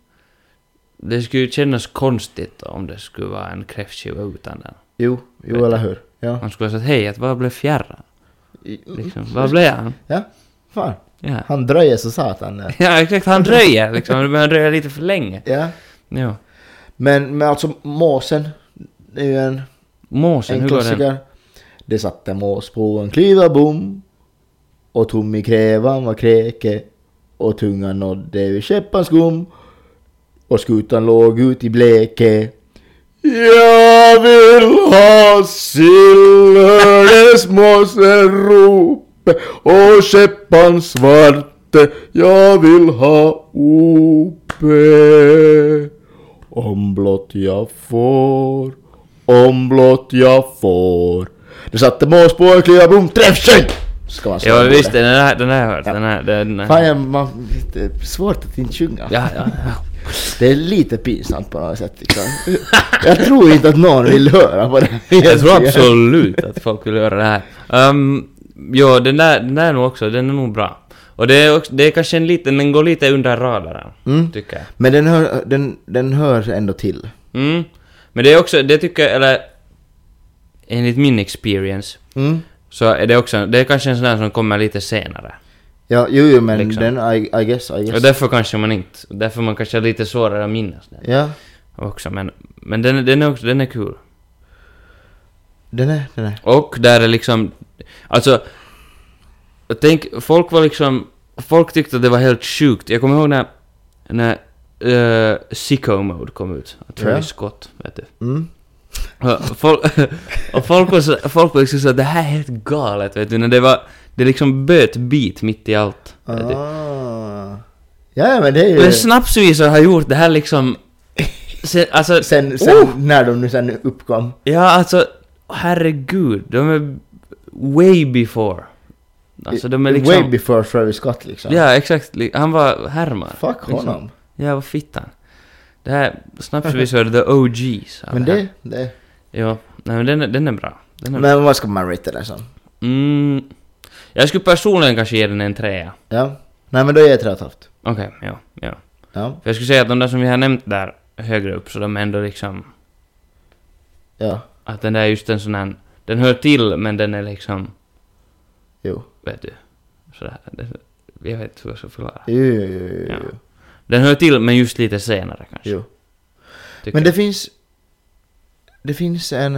Det skulle ju kännas konstigt om det skulle vara en kräftskiva utan den.
Jo, jo eller hur. Ja.
Han skulle ha sagt hej, att vad blev fjärran?
I- mm.
Liksom, vad blev han?
ja. Fan.
Ja. (laughs)
Han dröjer så satan. ja.
ja, exakt, han dröjer liksom. Du behöver dröja lite för länge.
Ja.
Ja.
Men, men alltså måsen, det är ju en,
Måsen,
en
hur går den?
klassiker. Det satt en mås på en klyvabom och tom i krävan var kräke och tungan nådde ur käppans skum och skutan låg ut i bleke. Jag vill ha sillhöresmåsen rope och käppan svarte. Jag vill ha ope. Om blott jag får, om blott jag får. Det satte mås på en klya bom, träffsyn! Ska man
Ja, visst, den här, den här har jag hört. Den här, den
Fan,
här.
jag, man, det är svårt att inte sjunga.
Ja, ja, ja.
Det är lite pinsamt på något sätt liksom. Jag tror inte att någon vill höra på det.
Jag tror absolut att folk vill göra det här. Um, ja, den där, den där är nog också, den är nog bra. Och det är, också, det är kanske en liten, den går lite under radaren,
Mm.
tycker jag.
Men den hör, den, den hör ändå till.
Mm. Men det är också, det tycker jag, eller enligt min experience,
Mm.
så är det också, det är kanske en sån där som kommer lite senare.
Ja, jo, jo men
Liksom.
den, I, I guess, I
Och
guess.
därför kanske man inte, därför man kanske har lite svårare att minnas den
Ja,
också. Men, men den, den är också, den är kul.
den är, den är.
Och där är liksom, alltså, jag tänk, folk var liksom, folk tyckte att det var helt sjukt. Jag kommer ihåg när, när uh, Sicko Mode kom ut, Travis
Ja.
Scott, vet du.
Mm.
Och folk, (laughs) och folk var, så, folk var liksom så att det här är helt galet, vet du. När det var, det liksom böt bit mitt i allt. vet du.
Ah. Ja, men det är ju...
Men snapsvisor har gjort det här liksom, sen, alltså,
Sen, sen när de nu sen uppkom.
ja alltså, herregud, de är way before. Alltså de är liksom...
Way before Travis Scott liksom.
Ja, exakt. li- Han var härmar.
Fuck
liksom.
honom.
Ja, vad fittan. Det här, snapsvisor är the OGs. av
Men
här.
det, det.
Ja, nej men den, är- den är bra. Den är bra.
Men vad ska man rate den som?
Mm, jag skulle personligen kanske ge den en trea.
Ja. Nej men då ger jag tre och ett halvt.
Okej, ja, ja.
Ja.
För jag skulle säga att de där som vi har nämnt där högre upp, så de är ändå liksom...
Ja.
Att den där är just en sån här... Den hör till, men den är liksom...
Jo.
Vet du? Sådär. det- Jag vet inte hur jag ska förklara.
Jo, jo, jo, jo,
Ja.
jo.
Den hör till, men just lite senare kanske.
jo.
tycker
Men
jag.
det finns... Det finns en...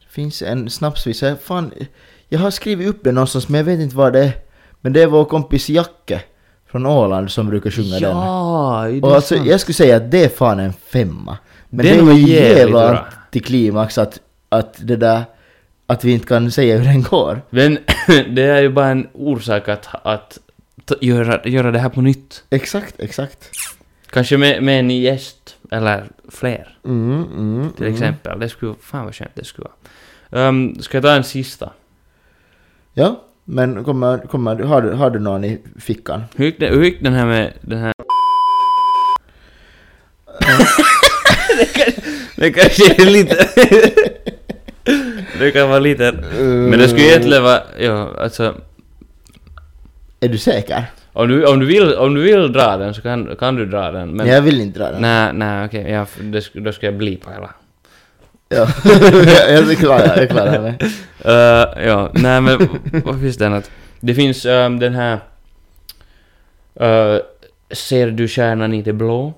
Det finns en snapsvisa. Jag- Fan, jag har skrivit upp den någonstans men jag vet inte vad det är. Men det är vår kompis Jacke från Åland som brukar sjunga den.
Ja, är det
Och alltså,
sant?
jag skulle säga att det är fan en femma. Men
Den
det
var
är ju
jävligt
jävla
bra.
antiklimax att, att det där... Att vi inte kan säga hur den går.
Men (coughs) det är ju bara en orsak att, att t- göra, göra det här på nytt.
Exakt, exakt.
Kanske med, med en gäst, eller fler
Mm, mm,
till
mm.
exempel. Det skulle, fan vad skönt det skulle vara. Um, ska jag ta en sista?
Ja, men kommer, kommer, har, du- har du någon i fickan?
Hur gick, det, hur gick den här med den här... (laughs) det, kanske, det kanske är lite... Eh. det kan vara lite... Men det skulle egentligen vara... Ja, alltså...
Är du säker?
Om du, om, du vill, om du vill dra den så kan, kan du dra den. Men
Men jag vill inte dra den.
Nej, nej okej, ja, f- det sk- då ska jag blipa hela.
(laughs) Ja. jag är klar, jag är klar med.
Eh, ja, nej men v- vad finns det annat? Det finns ehm, den här... eh, ser du stjärnan i det blå?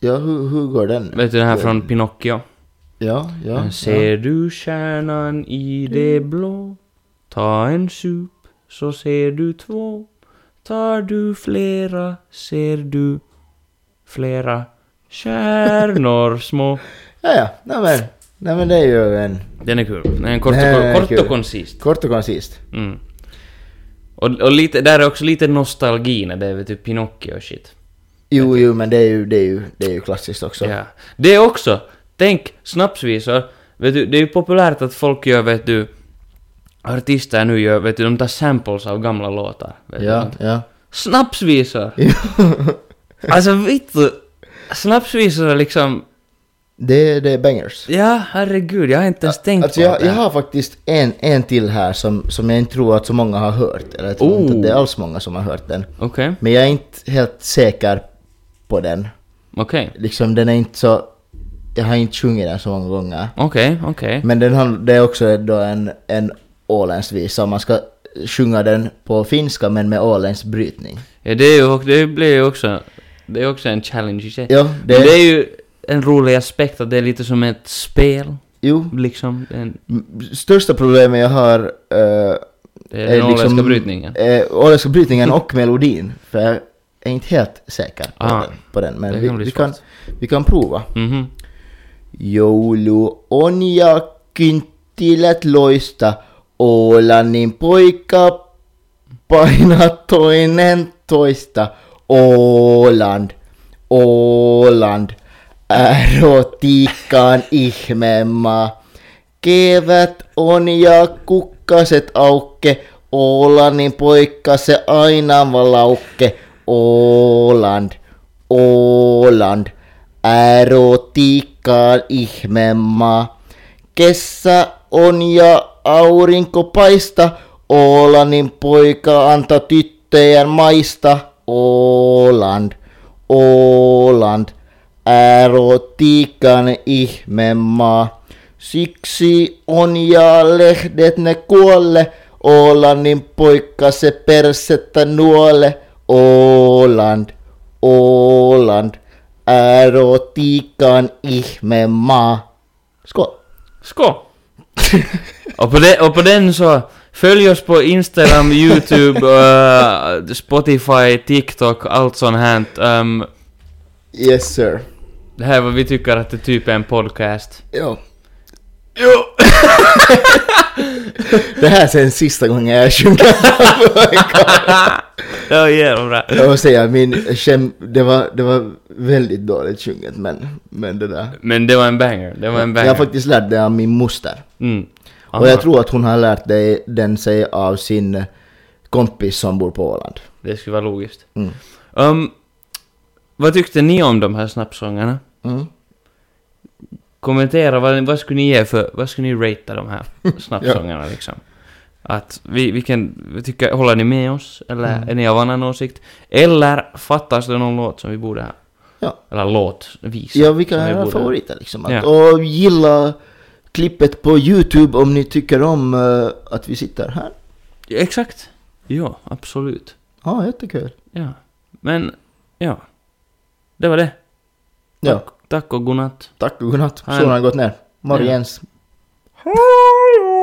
Ja, hur, hur går den?
Vet du den här från Pinocchio?
Ja, ja. Mm.
ser du stjärnan i det blå? Ta en sup, så ser du två. Tar du flera, ser du flera
(laughs)
stjärnor små.
Ja, ja. Nej men, nej men det är ju en
Den är kul. Den är kort
Den
och,
är
kort
kul.
och koncist.
kort och koncist.
Mm. Och, och lite, där är också lite nostalgi när det är typ Pinocchio och shit.
Jo, jo, men det är ju, det är ju, det är ju klassiskt också.
Ja. Det är också, tänk snapsvisor, vet du, det är ju populärt att folk gör vet du, artister nu gör, vet du, de tar samples av gamla låtar. Vet
ja.
du.
ja.
Snapsvisor!
(laughs)
alltså vittu, snapsvisor är liksom,
Det, det är bangers.
ja herregud, jag har inte ens tänkt
Alltså
på
jag,
det.
jag har faktiskt en, en till här som, som jag inte tror att så många har hört. Eller jag tror inte
Oh.
att det är alls många som har hört den.
Okej,
Men jag är inte helt säker på den.
okej,
Liksom den är inte så... Jag har inte sjungit den så många gånger.
okej, okej.
Men den han, det är också då en, en åländsvisa. Man ska sjunga den på finska men med åländsk brytning.
Ja, det, är ju, det blir ju också, det är också en challenge i sig.
Ja,
Det...
det,
det är ju en rolig aspekt att det är lite som ett spel,
Jo,
liksom. En,
m- största problemet jag har eh,
det är den åländska brytningen.
eh, åländska brytningen och melodin. För jag är inte helt säker på,
Ah,
den, på den. Men
det
vi,
kan bli
vi,
svårt.
kan, vi kan prova.
Mhm.
Joulu on ja kynttilät loista, Oolannin poika paina toinen toista. Åland, Åland, erotiikan ihmemaa. Kevät on ja kukkaset aukke, Oolannin poika se aina valaukke. Åland, Åland, erotiikkaan ihmemaa. Kesä on ja aurinko paista, Oolannin poika anta tyttöjen maista. Åland, Åland, erotiikan ihmemaa. Siksi on ja lehdet ne kuolle, Oolannin poika se persettä nuole. Åland, Åland, erotiikan ihmemaa. Skål!
Skål! (laughs) och, på de, och på den så, följ oss på Instagram, YouTube, eh, Spotify, TikTok, allt sånt här. Ehm,
Yes sir.
det här är vad vi tycker att det typ är en podcast.
Ja.
Jo!
Det här är sen sista gången jag sjunger.
Det var jävla bra.
Jag måste säga, min skäm, det, var, det var väldigt dåligt sjunget men, men det där.
Men det var en banger, det var en
Jag har
banger.
faktiskt lärt det av min moster.
Mm.
Och
Aha,
jag tror att hon har lärt det, den sig av sin kompis som bor på Åland.
Det skulle vara logiskt.
Mm.
Ehm, vad tyckte ni om de här snappsångerna?
Mm.
Kommentera, vad, vad skulle ni ge för, vad skulle ni ratea de här snappsångerna liksom? Att vi, vi kan, vi tycker, håller ni med oss? Eller
Mm.
är ni av annan åsikt? Eller fattas det någon låt som vi borde ha?
Ja.
Eller låt, visa.
Ja, vilka
som vi
är era
borde-
favoriter liksom? Att,
Ja.
Och gilla klippet på YouTube om ni tycker om eh, att vi sitter här.
Ja, exakt. Ja, absolut.
Ja, jättekul.
Ja. Men, ja. Det var det.
Ja,
Tack och godnatt.
tack och godnatt.
Ha en-
Solen har gått ner. Morgens.
Hej!